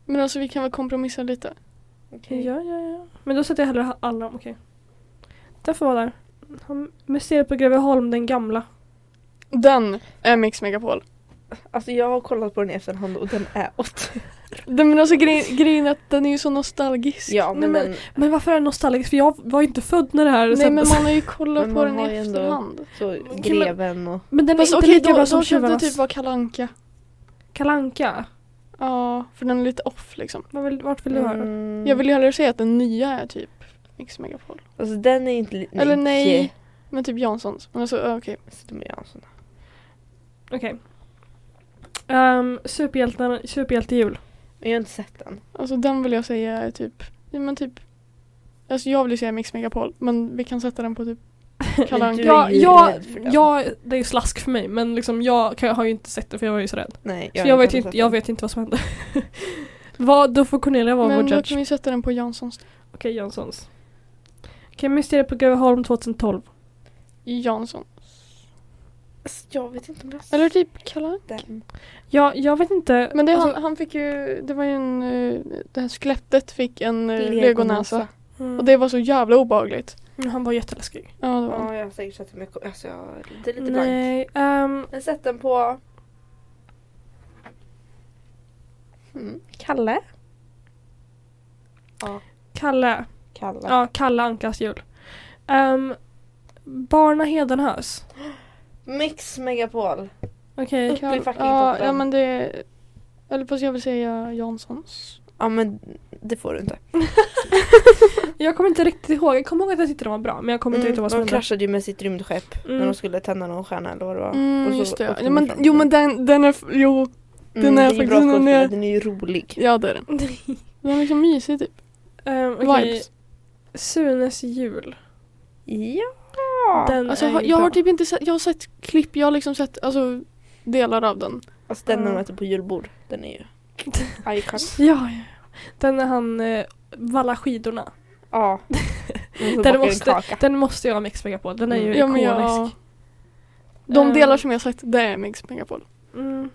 D: Men alltså vi kan väl kompromissa lite.
B: Okej.
A: Ja, ja, ja. Men då sätter jag hellre alla om, okej. Den får vara där. Han- Museet på Greveholm, den gamla.
D: Den är Mix Megapol.
B: Alltså jag har kollat på den i efterhand och den är åt.
D: Den, men alltså grej, grejen är att den är ju så nostalgisk.
B: Ja
A: Nej,
B: men,
A: men-
B: den,
A: Men varför är den nostalgisk? För jag var ju inte född när det här
D: Nej men
A: sändes.
D: man har ju kollat
B: Men
D: på
B: man
D: den i
B: har ju ändå-
D: efterhand.
B: så
A: men-
B: greven och...
A: Men den är
D: Fast
A: inte
D: okej
A: lika
D: då,
A: bra
D: då
A: som
D: kan det
A: tjuvarnas.
D: typ vara Kalle Anka.
A: Kalle Anka.
D: Ja, för den är lite off liksom.
A: Vad vill, vart vill du ha den?
B: Mm.
D: Jag vill ju hellre säga att den nya är typ Mix Megapol.
B: Alltså den är inte... li-
D: Eller nej. Men typ Janssons. Men alltså ja, okej.
B: Så de gör en sån här.
A: Okej. Ehm, superhjältarna- Superhjältejul.
B: Men jag har inte sett den.
D: Alltså den vill jag säga är typ, ja, men typ Alltså jag vill ju säga Mix Megapol men vi kan sätta
B: (laughs)
D: den på typ Kalle
B: Du
D: Anka.
B: är
A: Ja,
B: ju
A: jag,
B: rädd för den.
A: jag, det är ju slask för mig men liksom jag kan, har ju inte sett det för jag var ju så rädd.
B: Nej,
A: så jag
B: har
A: vet, ju
B: sett
A: inte, jag
B: den.
A: vet inte vad som hände. (laughs) vad, då får Cornelia vara
D: Men
A: vår
D: då
A: judge.
D: kan vi sätta den på Janssons.
A: Okej Janssons. Okej, Mysteriet på Greveholm 2012.
D: Jansson.
B: Alltså, jag vet inte om jag har sett
D: Eller typ Kalle Anka.
B: den.
A: Ja, jag vet inte.
D: Men det,
A: Alltså,
D: han, han fick ju, det var ju en, eh, det här skelettet fick en eh,
B: Legonäsa.
D: legonäsa.
A: mm,
D: Alltså, Och det var så jävla obehagligt.
A: han var jätteläskig.
D: Ja det var han.
B: Ja, jag har säkert sett den men jag kom- alltså, jag... det är lite blankt.
A: Nej, ehm,
B: Men sätt den på... Mm. Kalle?
A: Kalle.
B: Kalle.
A: Ja, Kalle Ankas jul. Um, Barna Hedenhös.
B: Mix Megapol.
A: Okej.
B: Upp i fucking
D: ja,
B: toppen.
D: ja men det, eller fast jag vill säga Janssons.
B: Ja men det får du inte.
A: Jag kommer inte riktigt ihåg. Jag kommer ihåg att jag tyckte den var bra men jag kommer inte
D: Mm,
A: riktigt ihåg vad som
B: Mm, de kraschade ju med sitt rymdskepp när
A: Mm.
B: de skulle tända någon stjärna eller vad det var.
D: Mm,
B: Och så
D: just det.
B: åkte
D: Ja,
B: de
D: men,
B: ifrån.
D: jo men den, den är, f- jo
B: Mm,
D: den är
B: det ju
D: faktiskt-
B: bra
D: den är-
B: skådespelare, den är ju rolig.
D: ja det är den. Den är liksom mysig typ.
A: Ehm, okej.
D: Vibes.
A: Sunes jul.
B: Ja.
A: Den
D: Alltså,
A: är
D: har,
A: ju
D: jag
A: bra.
D: har typ inte sett, jag har sett klipp, jag har liksom sett alltså, delar av den.
B: Alltså den när de
A: Ja.
B: äter på julbord. Den är ju... Icon.
A: Ja, ja. Den är han eh, vallar skidorna.
B: Ja. Men så
A: Den
B: bakar vi en
A: måste-
B: kaka.
A: Den måste jag ha Mix på. Den är ju
B: Mm.
D: Ja, men
A: ikonisk.
D: jag, de
A: Ehm.
D: delar som jag har sett, det är Mix Megapol.
A: Mm.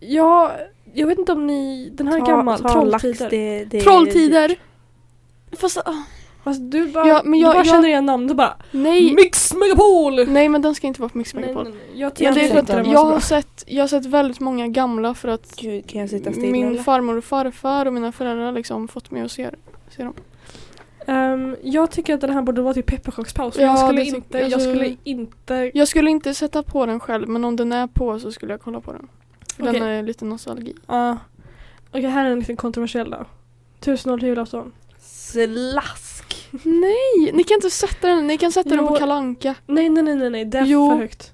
A: Ja, jag vet inte om ni... Den här är gammal.
B: ta en lax,
A: Trolltider.
B: det- det är-
D: Trolltider! Fast, ah,
A: Fast du bara,
D: Ja, men jag-
A: du bara
D: jag-
A: känner igen namn. Du bara
D: nej.
A: Mix Megapol!
D: Nej men den ska inte vara på Mix
A: Nej,
D: Megapol.
A: nej, nej. Jag
B: Jag
A: tycker
B: har
A: inte
B: sett
A: att den
B: den.
A: var
D: jag,
A: så bra.
D: har sett, jag har sett väldigt många gamla för att
B: Gud kan jag sitta stilla
D: min
B: eller?
D: farmor och farfar och mina föräldrar liksom fått mig att se, se dem.
A: Ehm, jag tycker att den här borde vara till pepparkakspaus.
D: Ja,
A: jag, skulle
D: det-
A: inte, jag
D: alltså-
A: skulle inte...
D: Jag skulle inte sätta på den själv men om den är på så skulle jag kolla på den. För
A: Okej.
D: Den är lite nostalgi.
A: Ja. Okej, här är en liten kontroversiell då. Tusen år till julafton.
B: Slask!
D: Nej! Ni kan inte sätta den, ni kan sätta den
A: Jo.
D: på kalanka.
A: Nej, nej, nej, nej, nej. Det är
D: Jo.
A: för högt.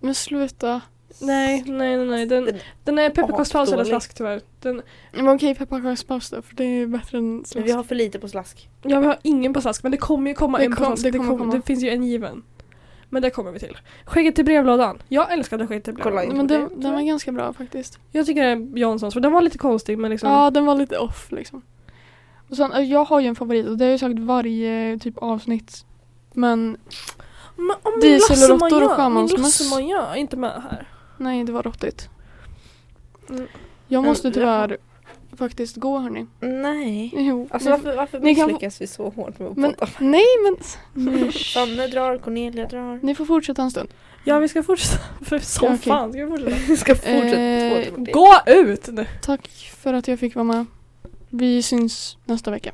D: Men sluta.
A: Nej, nej, nej, nej. Den,
B: Den-
A: den är pepparkakspaus eller
B: asdålig.
A: slask tyvärr. Den,
D: Men okej pepparkakspaus då för det är bättre än
B: Men
D: slask.
B: vi har för lite på slask.
A: ja, vi har ingen på slask men det kommer ju komma
D: Det
A: en på
D: kom-
A: slask.
D: det kommer
A: kom-
D: komma.
A: det finns ju en given. Men det kommer vi till. Skägget till brevlådan. Jag älskade skägget till
B: Kolla
A: brevlådan.
D: Nej,
B: in.
D: men
B: det,
D: den,
B: tror
D: den
B: jag.
D: var ganska bra faktiskt.
A: Jag tycker det är Janssons för den var lite konstig men liksom.
D: Ja den var lite off liksom. Och sen, eh, jag har ju en favorit och det har jag ju sagt varje typ avsnitt. Men
A: Men om min
D: Diesel och
A: lassemoja-
D: råttor och sjömansmöss.
A: Min lassemoja är inte med här.
D: Nej, det var råttigt.
A: Mm.
D: Jag måste
B: Mm,
D: tyvärr faktiskt gå hörni.
B: Nej.
D: Jo.
B: Alltså varför, varför
D: ni kan få-
B: misslyckas vi så hårt med att
D: Men-
B: podda?
D: Nej
A: (laughs)
D: men
B: Sanne drar, Cornelia drar.
D: ni får fortsätta en stund.
A: Ja vi ska fortsätta. (laughs) För som
D: Ja, okej.
A: fan ska vi fortsätta.
B: Vi ska fortsätta
D: Eh,
B: två timmar till.
A: Gå ut nu!
D: Tack för att jag fick vara med. Vi syns nästa vecka.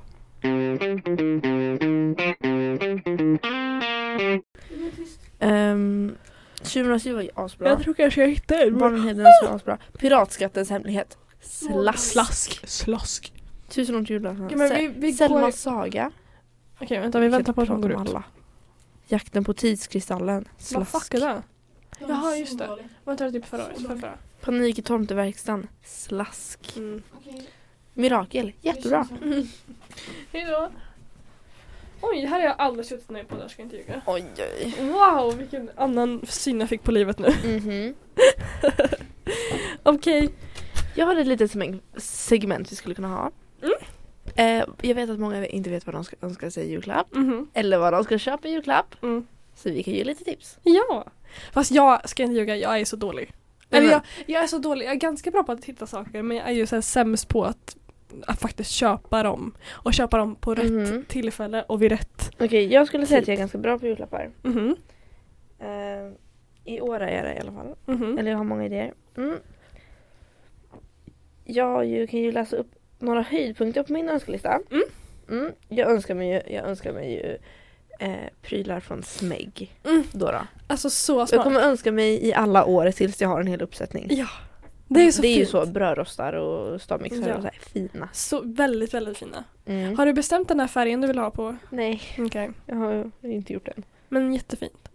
B: Ehm, 2020 var ju asbra.
A: Jag tror kanske jag hittar en.
B: Barnhedernas var asbra. Piratskattens hemlighet. Slask.
A: Slask. Slask.
B: Tusen år till julafton.
A: Ja, men vi, vi
B: Selmas
A: går...
B: saga.
A: Okej vänta vi väntar på att
B: Kan
A: de går
B: inte prata
A: ut.
B: om alla. Jakten på tidskristallen.
A: Vad fuck
B: Slask.
A: är det? Jaha just det. Var inte det typ förra året? Förra, förra.
B: Panik i tomteverkstan. Slask.
A: Mm.
B: Mirakel. Jättebra.
A: Hejdå! Oj, här har jag aldrig suttit ner på det, jag ska inte ljuga.
B: Oj oj.
A: Wow, vilken annan syn jag fick på livet nu.
B: (laughs) Mhm.
A: Okej.
B: Jag har ett litet seg- segment vi skulle kunna ha.
A: Mm.
B: Eh, jag vet att många inte vet vad de ska önska sig i julklapp.
A: Mhm.
B: Eller vad de ska köpa i julklapp.
A: Mm.
B: Så vi kan ge lite tips.
A: Ja! Fast jag ska inte ljuga, jag är så dålig. Eller
B: men-
A: jag, jag är så dålig, jag är ganska bra på att hitta saker men jag är ju så här sämst på att, att faktiskt köpa dem. Och köpa dem på rätt
B: Mhm.
A: tillfälle och vid rätt.
B: Okej, jag skulle säga
A: Typ.
B: att jag är ganska bra på julklappar.
A: Mhm.
B: Eh, I år är jag det i alla fall.
A: Mhm.
B: Eller jag har många idéer. Mm. Jag ju, kan ju läsa upp några höjdpunkter på min önskelista.
A: Mm.
B: Mm. Jag önskar mig ju, jag önskar mig ju eh, prylar från Smeg.
A: Mm.
B: Då då.
A: Alltså så
B: Jag
A: smart.
B: kommer önska mig i alla år tills jag har en hel uppsättning.
A: Ja, Det är så
B: det är
A: fint.
B: ju så brödrostar och stavmixar
A: Ja.
B: och så här fina.
A: Så väldigt, väldigt fina.
B: Mm.
A: Har du bestämt den här färgen du vill ha på?
B: Nej,
A: Okej.
B: jag har inte gjort det än.
A: Men jättefint.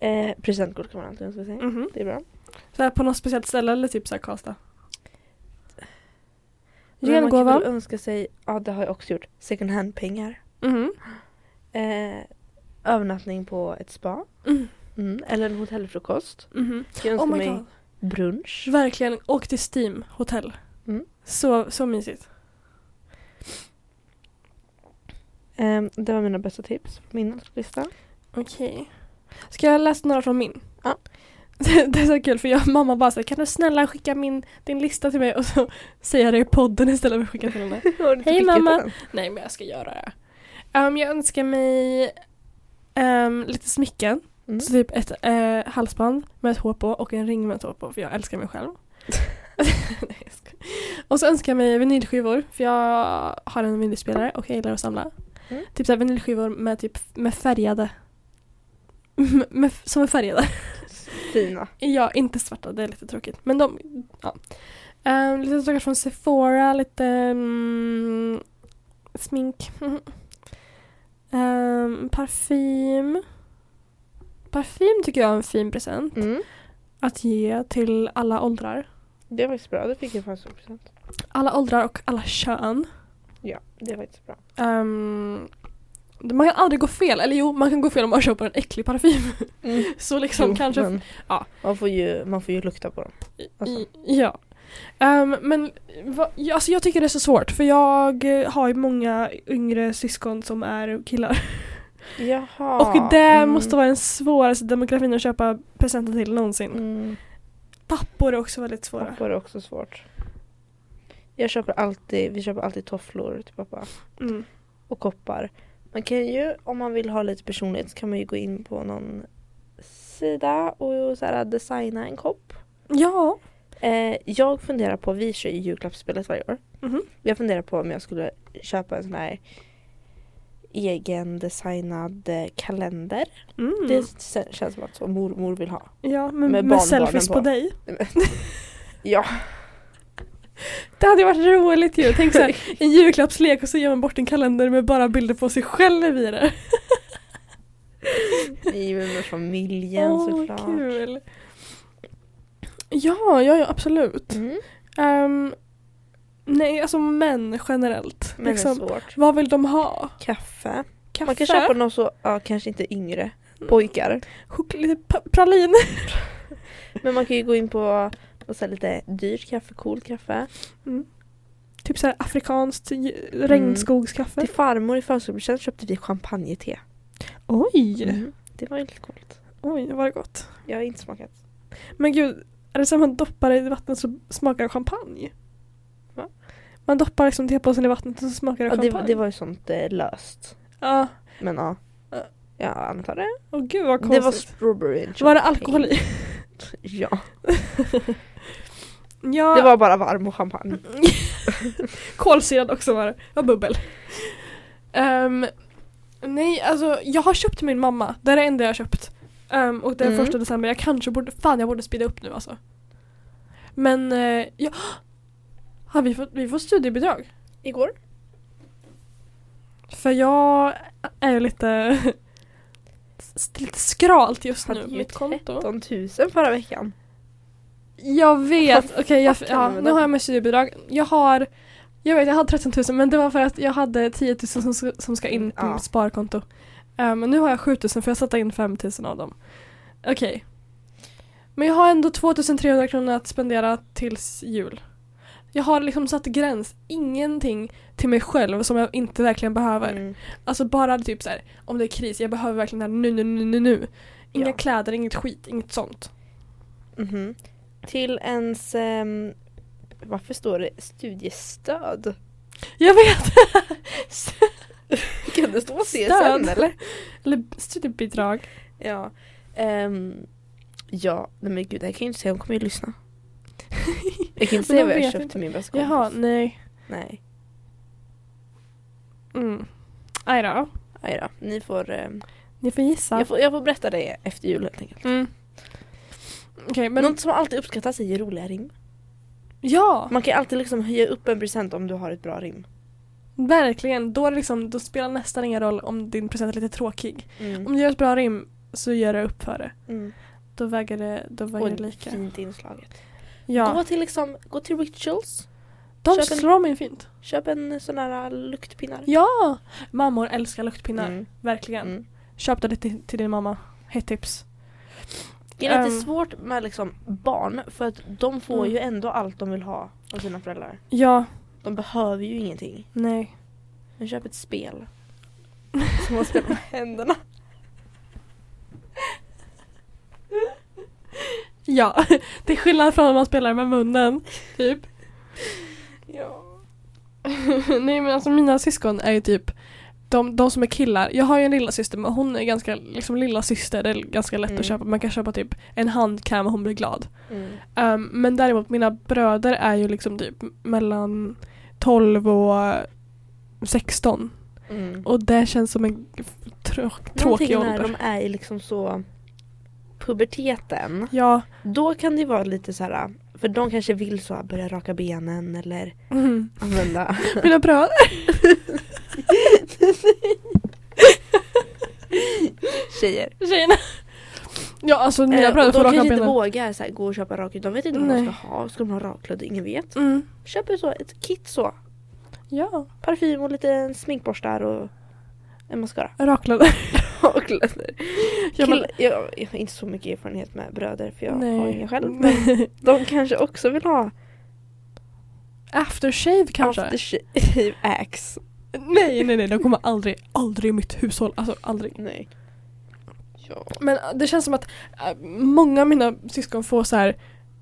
B: Eh, presentkort kan man alltid önska sig.
A: Mhm.
B: Det är bra.
A: Så här på något speciellt ställe eller typ såhär Karlstad?
B: Men man kan
A: Gengåva.
B: väl önska sig, ja det har jag också gjort, second hand-pengar.
A: Mhm.
B: Eh, övernattning på ett spa.
A: Mm.
B: Mm. Eller en hotellfrukost.
A: Mhm.
B: Jag önskar
A: Oh my
B: mig
A: god.
B: brunch.
A: Verkligen, åk till Steam hotell.
B: Mm.
A: Så, så mysigt.
B: Eh, det var mina bästa tips på min lista. (laughs)
A: Okej. Ska jag läsa några från min?
B: Ja.
A: (laughs) Det, det är så kul för jag och mamma bara så här, kan du snälla skicka min, din lista till mig och så (laughs) säger jag det i podden istället för att skicka till
B: (laughs)
A: henne. Hej, mamma. Nej men jag ska göra det. Ehm, jag önskar mig ehm, lite smycken.
B: Mm.
A: Så typ ett eh, halsband med ett hår på och en ring med ett hår på för jag älskar mig
B: (laughs)
A: själv. Nej, jag skojar. och så önskar jag mig vinylskivor för jag har en vinylspelare och jag gillar att samla.
B: Mm.
A: Typ så här vinylskivor med, typ, med färgade. (laughs) med, med, som är färgade.
B: Fina.
A: ja, inte svarta, det är lite tråkigt. Men de, ja. Ehm, lite saker från Sephora, lite mm, smink. (laughs) Ehm, parfym. Parfym tycker jag är en fin present
B: Mm.
A: att ge till alla åldrar.
B: Det var faktiskt bra. Det fick jag faktiskt en present.
A: Alla åldrar och alla kön.
B: Ja, det var faktiskt bra.
A: Ehm, man kan aldrig gå fel, eller jo man kan gå fel om man köper en äcklig parfym. (laughs)
B: (laughs)
A: Så liksom
B: Mm. Jo,
A: kanske
B: men
A: ja.
B: man, får ju, man får ju lukta på dem. Alltså.
A: I- Ja. Ehm, men va, ja, alltså jag tycker det är så svårt för jag eh, har ju många yngre syskon som är killar.
B: Jaha.
A: och det
B: Mm.
A: måste vara den svåraste demografin att köpa presenter till någonsin.
B: Mm.
A: Pappor är också väldigt svåra.
B: Pappa är också svårt. Jag köper alltid, vi köper alltid tofflor till pappa.
A: Mm.
B: och koppar. Man kan ju, om man vill ha lite personligt, så kan man ju gå in på någon sida och så här, designa en kopp.
A: Ja.
B: Eh, jag funderar på, vi kör ju julklappsspelet varje år.
A: Mhm.
B: Jag funderar på om jag skulle köpa en sån här egen designad eh, kalender.
A: Mm.
B: Det s- känns som att så mormor vill ha.
A: ja men
B: med
A: med,
B: barnbarnen
A: selfies på.
B: på.
A: dig.
B: (laughs) Ja.
A: Det hade ju varit roligt ju. Tänk
B: (laughs)
A: såhär en julklappslek och så ger man bort en kalender med bara bilder på sig själv i det.
B: I med familjen
A: Åh,
B: såklart.
A: kul. Ja, ja, ja absolut.
B: Mm.
A: Ehm, nej, alltså män generellt.
B: Men det
A: liksom,
B: är svårt.
A: vad vill de ha?
B: Kaffe. Mm.
A: Kaffe?
B: Man kan köpa något så, ja kanske inte yngre, pojkar.
A: Chok- lite pa- pralin?
B: Men man kan ju gå in på och så här lite dyrt kaffe, cool kaffe.
A: typ såhär afrikanskt j-
B: Mm.
A: regnskogskaffe?
B: Typ, Till farmor i födelsedagspresent köpte vi champagnete.
A: Oj!
B: Mm. Det var ju lite coolt.
A: Oj, var det gott.
B: Jag har inte smakat.
A: Men gud, är det så att man doppar det i vatten så smakar det champagne? Va? Man doppar liksom tepåsen i vattnet och så smakar det
B: Ja,
A: champagne.
B: det, det var ju sånt eh, löst.
A: Ja,
B: Men ja.
A: Ja.
B: Jag antar det.
A: åh gud vad
B: Det var
A: konstigt.
B: strawberry and
A: var, det
B: champagne.
A: alkohol i?
B: Ja.
A: Ja,
B: Det var bara varm och champagne.
A: kolsyrad också var det. Det var bubbel. Ehm, nej, alltså jag har köpt till min mamma. Det är det enda jag har köpt. Ehm, och det är
B: Mm.
A: första december. Jag kanske borde, fan jag borde speeda upp nu alltså. Men, eh, ja. (gasps) Har vi, fått, vi får studiebidrag.
B: Igår?
A: För jag är ju lite, (laughs) s- lite skralt just nu
B: Hade
A: på
B: ju
A: mitt konto.
B: 13 000 förra veckan.
A: Jag vet, okej jag,
B: fuck
A: ja,
B: hände med
A: nu
B: dem?
A: har jag med studiebidrag. Jag har, jag vet jag hade 13 000 men det var för att jag hade 10 000 som, ska- som ska in på
B: Ja.
A: mitt sparkonto. Eh, Men nu har jag 7 000 för jag satte in 5 000 av dem. Okej. Men jag har ändå 2 300 kronor att spendera tills jul. Jag har liksom satt gräns, ingenting till mig själv som jag inte verkligen behöver.
B: Mm.
A: Alltså bara typ så här, om det är kris, jag behöver verkligen det här nu, nu, nu, nu, nu. Inga
B: Ja.
A: kläder, inget skit, inget sånt.
B: Mhm. Till ens... ehm, varför står det studiestöd?
A: Jag vet!
B: (laughs) Kan det stå
A: Stöd.
B: CSN eller?
A: Eller studiebidrag.
B: Ja. Ehm, ja, nej men gud det här kan jag ju inte säga, hon kommer ju lyssna. Jag kan inte
A: Men
B: säga
A: de
B: vad jag
A: vet
B: köpte
A: inte.
B: till min bästa kompis.
A: Jaha, nej.
B: Nej,
A: Mm. Aj då.
B: Aj då. Ni får, ehm,
A: Ni får gissa.
B: jag får... Jag får berätta det efter jul helt enkelt.
A: Mm. Okej, men...
B: Men... Något som alltid uppskattas är ju roliga rim.
A: Ja!
B: Man kan ju alltid liksom höja upp en present om du har ett bra rim.
A: Verkligen. Då, är det liksom, då spelar nästan ingen roll om din present är lite tråkig. Om
B: Mm.
A: du gör ett bra rim så gör det upp för det.
B: Mm.
A: Då väger det, då
B: Och
A: väger det lika.
B: fint inslaget. Gå
A: Ja.
B: till liksom, gå till Rituals,
A: De
B: köp en-
A: slår mig fint.
B: köp en sån här äh, luktpinnar.
A: Ja! Mammor älskar luktpinnar.
B: Mm.
A: Verkligen.
B: Mm.
A: Köp det till, till din mamma. Hett tips.
B: Det är lite
A: Ehm.
B: svårt med liksom barn för att de får
A: Mm.
B: ju ändå allt de vill ha av sina föräldrar.
A: Ja,
B: De behöver ju ingenting.
A: nej.
B: Men köp ett spel. Som man spelar med händerna.
A: Ja, (laughs) det är skillnad från om man spelar med (laughs) munnen. Typ.
B: Ja.
A: nej men alltså mina syskon är ju typ de, de som är killar. Jag har ju en lilla syster men hon är ganska liksom lilla syster. Det är ganska lätt
B: Mm.
A: att köpa. Man kan köpa typ en handkräm och hon blir glad.
B: Mm.
A: Ehm, men däremot mina bröder är ju liksom typ mellan 12 och 16.
B: Mm.
A: Och det känns som en tråk,
B: Någonting
A: tråkig
B: när
A: ålder.
B: de är i liksom så puberteten.
A: Ja.
B: Då kan det vara lite så här. För de kanske vill så här, börja raka benen eller
A: (laughs) Mm.
B: använda.
A: Mina bröder.
B: (laughs) Tjejer.
A: Tjejerna. Ja alltså mina
B: Eh, och
A: bröder
B: de
A: får raka
B: kanske inte
A: benen.
B: vågar så här, gå och köpa raklödd. De vet inte vad de
A: Nej.
B: ska ha. Ska de ha raklödd? Ingen vet.
A: Mm.
B: Köper så ett kit så.
A: Ja,
B: Parfym och lite sminkborstar och
A: (laughs)
B: en mascara.
A: raklade.
B: Och kläder.
A: Ja, men-
B: Kill- jag, jag har inte så mycket erfarenhet med bröder för jag har
A: Nej. (laughs)
B: inga själv. Men de kanske också vill ha
A: Aftershave kanske?
B: aftershave axe.
A: Nej nej nej, de kommer aldrig, aldrig i mitt hushåll. Alltså aldrig.
B: Nej.
A: (laughs)
B: Ja.
A: Men äh, det känns som att äh, många av mina syskon får så här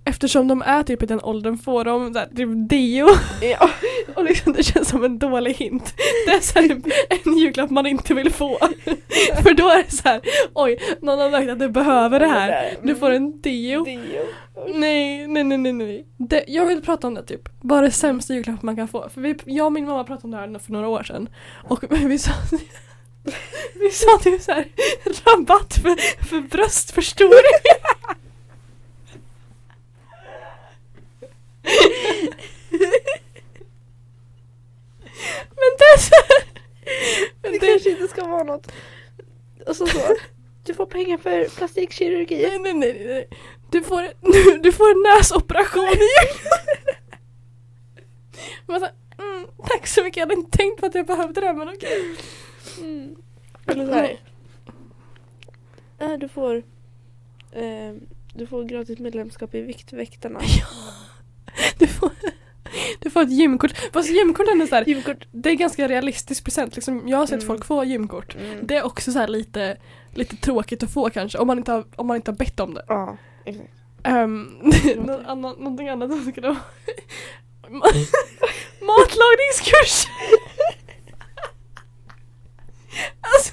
A: Eftersom de är typ i den åldern får de så här, typ deo
B: ja.
A: och liksom, det känns som en dålig hint. Det är så här, typ en julklapp man inte vill få. För då är det så här, oj, någon har märkt att du behöver det
B: Mm.
A: här. Du får en deo.
B: Dio.
A: Nej, nej, nej, nej, nej. Det, jag vill prata om det typ. Bara det sämsta julklapp man kan få. För vi, jag och min mamma pratade om det här för några år sedan. Och (laughs) vi sa, vi sa typ så här, rabatt för, för bröstförstoring. (laughs) Men det är så här, men
B: Det kanske inte ska vara något. Alltså (laughs) så. Du får pengar för plastikkirurgi.
A: Nej, nej, nej, nej. Du får, (laughs) du får en näsoperation i jul. (laughs) Man sa, mm, tack så mycket, jag hade inte tänkt på att jag behövde det men okej.
B: Mm. Eller så här. Ja, du får eh, (laughs) Mm. du får gratis medlemskap i Viktväktarna.
A: (laughs) Du får, du få ett gymkort. Fast gymkort är ändå så här,
B: Julkort.
A: det är ganska realistisk present. Liksom, jag har sett
B: Mm.
A: folk få gymkort.
B: Mm.
A: Det är också så här lite, lite tråkigt att få kanske om man inte har, om man inte har bett om det.
B: Ja, exakt.
A: Um, (laughs) någon annan, någonting annat som skulle vara Ma- (laughs) matlagningskurs! alltså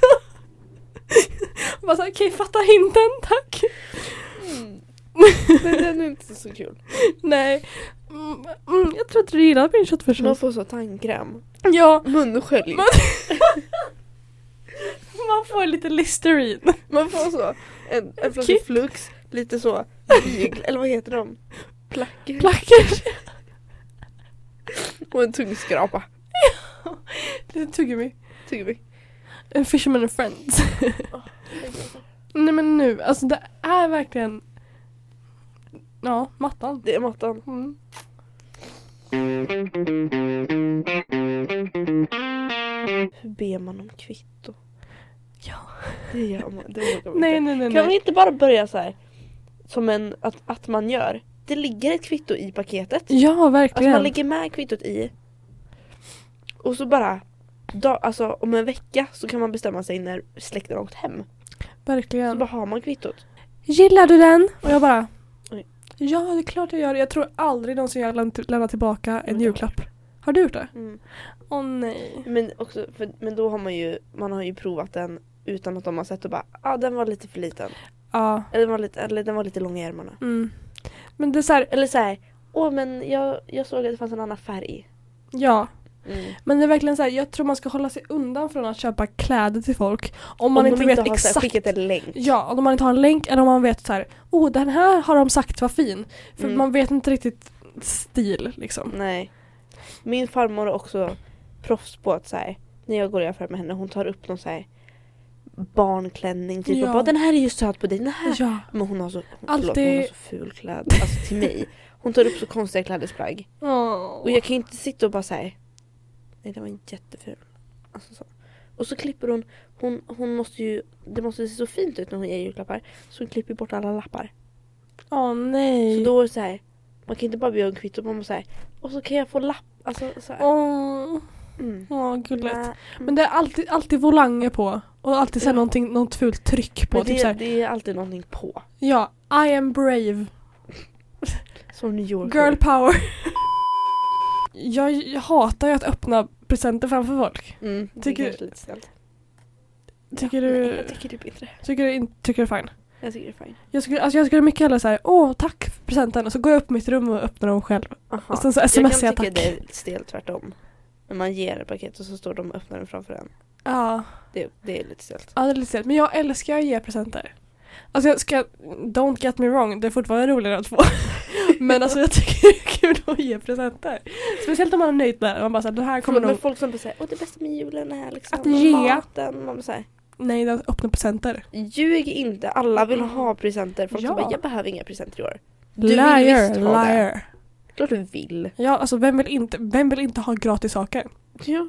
A: bara såhär, okej fatta hinten tack.
B: Mm. Men den är inte så kul.
A: Nej. Mm, mm, jag tror att du gillar min
B: Man
A: köttfärssås.
B: får så tandkräm.
A: Ja.
B: Munskölj.
A: Man, man får lite listerin.
B: Man får så en, en flaska
A: Kick.
B: flux, lite så vigel, eller vad heter de? Placker.
A: Plackers.
B: (laughs) Och en tungskrapa.
A: Lite tuggummi.
B: Tycker vi.
A: En fisherman and friends. (laughs) Nej men nu, alltså det är verkligen Ja, mattan.
B: Det är mattan.
A: Mm.
B: Hur ber man om kvitto?
A: Ja.
B: Det gör man. Det vågar man
A: Nej
B: inte.
A: nej nej.
B: Kan vi
A: nej.
B: inte bara börja så här? Som en, att, att man gör. Det ligger ett kvitto i paketet.
A: Ja
B: Alltså
A: verkligen.
B: man lägger med kvittot i. Och så bara. Da, alltså om en vecka så kan man bestämma sig när släkten har åkt hem. Så
A: Verkligen.
B: då har man kvittot.
A: Gillar du den? Och jag bara
B: Oj.
A: Ja det är klart jag gör det. Jag tror aldrig någonsin jag lämnar lämnar tillbaka en
B: det
A: julklapp. Har du gjort det?
B: Mm.
A: Åh nej.
B: Men, också, för, men då har man ju, man har ju provat den utan att de har sett och bara ah, den var lite för liten.
A: Ja.
B: Eller den var lite, eller, den var lite lång i ärmarna.
A: Mm. Men det är såhär,
B: Eller så här. Åh men jag, jag såg att det fanns en annan färg.
A: ja.
B: Mm.
A: Men det är verkligen såhär, jag tror man ska hålla sig undan från att köpa kläder till folk. Om man
B: de
A: inte vet
B: har så här
A: exakt.
B: skickat en länk.
A: Ja, om man inte har en länk eller om man vet så här, oh den här har de sagt var fin. För
B: Mm.
A: man vet inte riktigt stil liksom.
B: Nej. Min farmor är också proffs på att så här, när jag går och gör affär med henne, hon tar upp någon så här barnklänning typ
A: Ja.
B: och bara den här är ju söt på dig, den här.
A: Ja,
B: Men hon har så, hon,
A: Alltid-
B: förlåt, men hon har så ful kläder, alltså till mig. Hon tar upp så konstiga klädesplagg. Och jag kan ju inte sitta och bara säga nej det var en jätteful. Alltså, så. Och så klipper hon, hon, hon måste ju, det måste se så fint ut när hon ger julklappar. Så hon klipper bort alla lappar.
A: Åh nej.
B: Så då är det så här, man kan inte bara be om kvitto, man måste säga och så kan jag få lapp. Alltså, så här.
A: Åh,
B: Mm.
A: åh, gulligt.
B: Nej,
A: Men det är alltid, alltid volanger på och alltid så här
B: Ja.
A: någonting, något fult tryck på.
B: men
A: Typ
B: det,
A: så här,
B: det är alltid någonting på.
A: ja, I am brave,
B: Som New York.
A: girl power. (laughs) jag, jag hatar ju att öppna presenter framför folk.
B: Mm, det
A: Tycker-
B: tycker... kanske är lite snällt.
A: Tycker
B: Nej,
A: du,
B: jag tycker det är bättre.
A: tycker du, in- tycker du det är fine?
B: Jag tycker det är fine.
A: Jag skulle, alltså jag skulle mycket hellre säga åh tack för presenten och så går jag upp i mitt rum och öppnar dem själv.
B: Aha.
A: Och sen så
B: jag
A: smsar
B: kan
A: jag
B: tycka
A: tack.
B: det är stelt tvärtom. När man ger ett paket och så står de och öppnar den framför en.
A: Ja,
B: Det, det är lite stelt.
A: ja, det är lite stelt. Men jag älskar att ge presenter. Alltså jag ska, don't get me wrong, det är fortfarande roligare att få. (laughs) Men alltså jag tycker det är kul att ge presenter. Speciellt om man är nöjd med det. Man bara såhär, det här kommer
B: Förlåt,
A: nog...
B: men folk som bara säger åh det bästa med julen är liksom
A: Att ge.
B: maten. Man bara säger
A: Nej, det är att öppna presenter.
B: ljug inte, alla vill ha presenter. Folk
A: Ja.
B: som bara jag behöver inga presenter i år. Du vill
A: Liar,
B: visst ha det.
A: liar.
B: Klart du vill.
A: Ja, alltså vem vill inte, vem vill inte ha gratis saker?
B: Ja.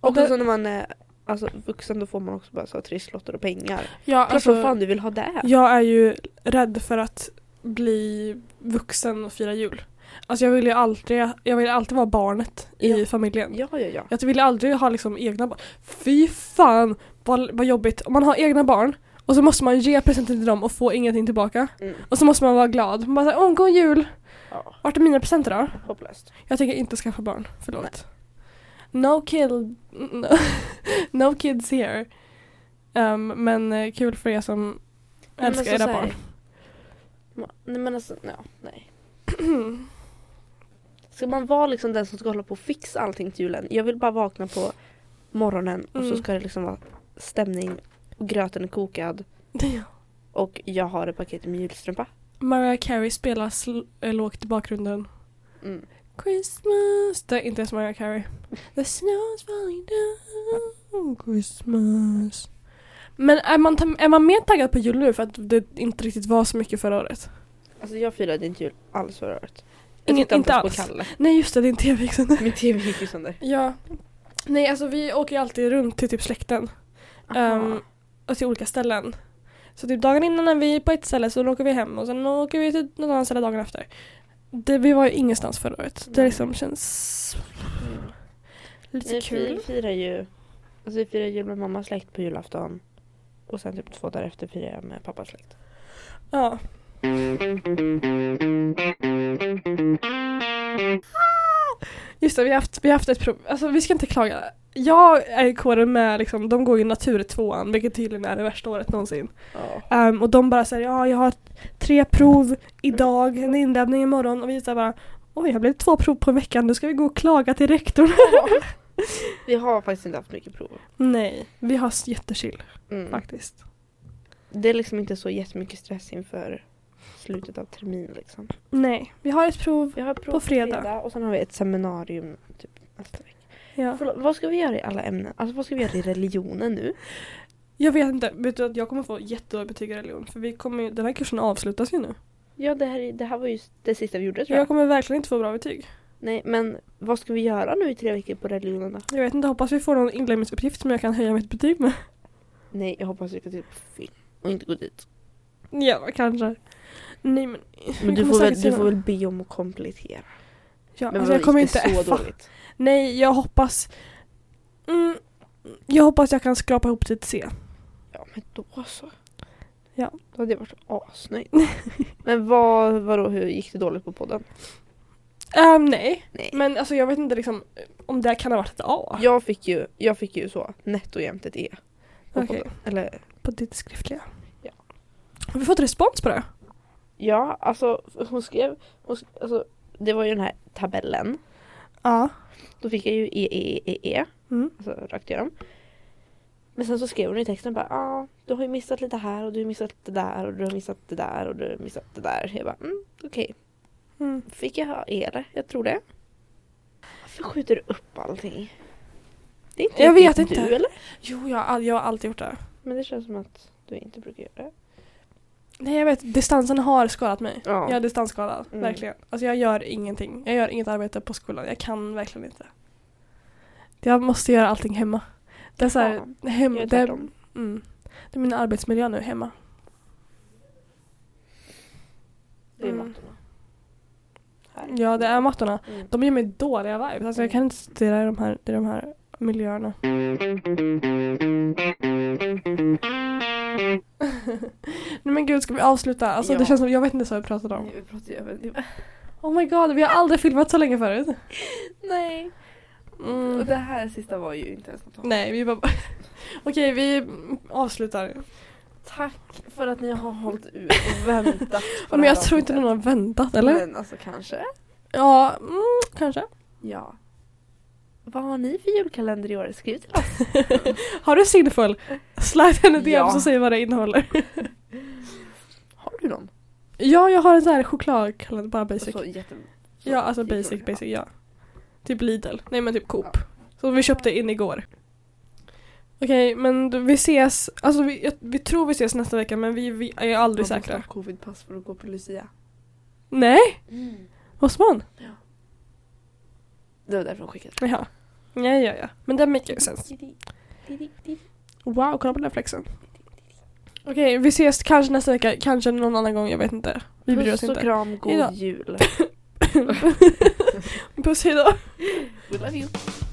A: Och
B: Och,
A: det-
B: så när man är alltså, vuxen då får man också bara så här, trisslotter och pengar.
A: Ja,
B: Klart som fan du vill ha det.
A: Jag är ju rädd för att bli vuxen och fira jul. Alltså jag vill ju alltid, jag vill alltid vara barnet i
B: Ja.
A: familjen.
B: Ja, ja, ja.
A: Jag vill aldrig ha liksom egna barn. Fy fan vad, vad jobbigt om man har egna barn och så måste man ge presenter till dem och få ingenting tillbaka.
B: Mm.
A: Och så måste man vara glad. Man bara såhär, åh god jul!
B: ja
A: Vart är mina presenter då?
B: hopplöst.
A: Jag tänker inte skaffa barn, förlåt. No kill... (laughs) No, no kids here. Ehm, men eh, kul för er som
B: men
A: älskar
B: alltså
A: era
B: så här-
A: barn.
B: Ma- Nej men alltså, ja, nej. (clears throat) Ska man vara liksom den som ska hålla på och fixa allting till julen? Jag vill bara vakna på morgonen och
A: Mm.
B: så ska det liksom vara stämning och gröten är kokad
A: (laughs) Ja.
B: och jag har ett paket med julstrumpa.
A: Mariah Carey spelar sl- eh, lågt i bakgrunden.
B: Mm.
A: Christmas. Det är inte ens Mariah Carey. The snow's falling down. Christmas. Men är man, ta- är man mer taggad på jul nu för att det inte riktigt var så mycket förra året?
B: Alltså jag firade inte jul alls förra året. Jag
A: Ingen-
B: tittade
A: inte
B: ens
A: alls.
B: på Kalle. (laughs)
A: Nej just det, det är en tv också.
B: Min tv gick
A: (laughs)
B: ju sönder.
A: Ja. Nej, alltså vi åker ju alltid runt till typ släkten.
B: Aha.
A: Um, och till olika ställen. Så typ dagen innan är vi på ett ställe så då åker vi hem och sen åker vi till något annat ställe dagen efter. det, vi var ju ingenstans förra året. Det liksom känns lite
B: Vi fi-
A: kul.
B: firar ju alltså vi firar jul med mammas släkt på julafton. Och sen typ två dagar efter firar jag med pappas släkt.
A: Ja. Just det, vi har haft, vi har haft ett problem. Alltså vi ska inte klaga. Jag är i kåren med, liksom, de går ju naturtvåan vilket tydligen är det värsta året någonsin.
B: Ja.
A: Ehm, och de bara säger ja jag har tre prov idag, en inlämning imorgon och vi säger bara oj jag blev två prov på en vecka nu ska vi gå och klaga till rektorn.
B: Vi har faktiskt inte haft mycket prov.
A: (laughs) Nej, vi har s- jättechill
B: Mm.
A: faktiskt.
B: Det är liksom inte så jättemycket stress inför slutet av termin liksom.
A: Nej, vi har ett prov.
B: Vi har prov
A: På fredag.
B: och sen har vi ett seminarium typ nästa vecka.
A: Ja.
B: Förlåt, vad ska vi göra i alla ämnen? Alltså vad ska vi göra i religionen nu?
A: Jag vet inte, vet du att jag kommer få jättedåliga betyg i religion för vi kommer, ju- den här kursen avslutas ju nu.
B: Ja det här, är- det här var ju det sista vi gjorde tror jag.
A: Jag kommer verkligen inte få bra betyg.
B: Nej men vad ska vi göra nu i tre veckor på religionen då?
A: Jag vet inte, hoppas vi får någon inlämningsuppgift som jag kan höja mitt betyg med. (laughs)
B: Nej jag hoppas vi ska typ på film och inte gå dit.
A: Ja, kanske. Nej men,
B: Men du
A: kommer
B: får, väl,
A: säkert
B: du
A: se
B: får
A: det.
B: väl be om att komplettera.
A: ja,
B: Men
A: alltså, jag
B: vadå,
A: kommer
B: gick
A: inte (laughs)
B: det så
A: effa.
B: dåligt.
A: Nej, jag hoppas... Mm, jag hoppas jag kan skrapa ihop till ett C.
B: Ja men då så.
A: Ja.
B: Då hade jag varit
A: (laughs)
B: asnöjd. men vad, vadå hur gick det dåligt på podden?
A: Ehm, nej,
B: Nej.
A: men alltså, jag vet inte liksom, om det här kan ha varit ett A.
B: Jag fick ju, jag fick ju så netto jämt ett E. på
A: Okej.
B: podden. Eller
A: På ditt skriftliga.
B: Ja.
A: Har vi fått respons på det?
B: ja alltså hon skrev, hon skrev alltså, det var ju den här tabellen.
A: Ja.
B: Då fick jag ju E, E, E, E, E.
A: Mm.
B: Alltså rakt igenom. Men sen så skrev hon i texten bara ah, du har ju missat lite här och du har missat det där och du har missat det där och du har missat det där. Jag bara mm, okej.
A: Mm.
B: Fick jag ha E eller? Jag tror det. Varför skjuter du upp allting? Det är inte
A: Jag vet
B: riktigt
A: inte.
B: Du, eller?
A: Jo, jag, har all- jag har alltid gjort det.
B: Men det känns som att du inte brukar göra det.
A: Nej, jag vet. Distansen har skadat mig.
B: Ja.
A: Jag är distansskadad,
B: Mm.
A: verkligen. Alltså jag gör ingenting. Jag gör inget arbete på skolan. Jag kan verkligen inte. Jag måste göra allting hemma. Det är så här, hem,
B: Jag gör
A: det, är-
B: tvärtom.
A: mm, det är min arbetsmiljö nu hemma.
B: Det är
A: Mm.
B: mattorna. Här.
A: Ja, det är mattorna.
B: Mm.
A: De ger mig dåliga vibes. Alltså jag kan inte studera i de här, i de här miljöerna. (laughs) Nej men gud, ska vi avsluta? Alltså
B: Ja.
A: det känns som, jag vet inte vad vi pratade om.
B: Nej, vi pratar ju över en timme.
A: Oh my god, vi har aldrig filmat så länge förut.
B: Nej. Och
A: Mm.
B: det här sista var ju inte ens något tal.
A: Nej, vi bara... Okej, vi avslutar.
B: Tack för att ni har hållit ut och väntat på
A: (laughs) Men
B: det här
A: jag tror inte någon
B: avsnittet.
A: har väntat, eller?
B: Men alltså kanske.
A: Ja, mm, kanske.
B: Ja. Vad har ni för julkalender i år? Skriv till oss.
A: Har du Sinful? Slide henne DM
B: Ja.
A: så säger vad det innehåller.
B: Har du någon?
A: ja, jag har en sån här chokladkalender, bara basic.
B: Så jätte... så
A: ja, alltså
B: jätterolig.
A: basic, basic, ja. Typ Lidl. Nej men typ Coop. Som vi köpte in igår. Okej, men du- vi ses, alltså vi, jag- vi tror vi ses nästa vecka men vi, vi är
B: Man
A: aldrig
B: måste
A: säkra.
B: ha covidpass för att gå på Lucia.
A: Nej, måste man?
B: Det var därför hon skickade.
A: Jaha. Ja, ja, ja. Men det make ju sense. Wow, kolla på den här flexen. Okej, vi ses kanske nästa vecka, kanske någon annan gång, jag vet inte. Vi bryr oss
B: Puss och
A: inte.
B: kram, god
A: Hejdå.
B: jul.
A: (laughs) Puss, hejdå!
B: We love you.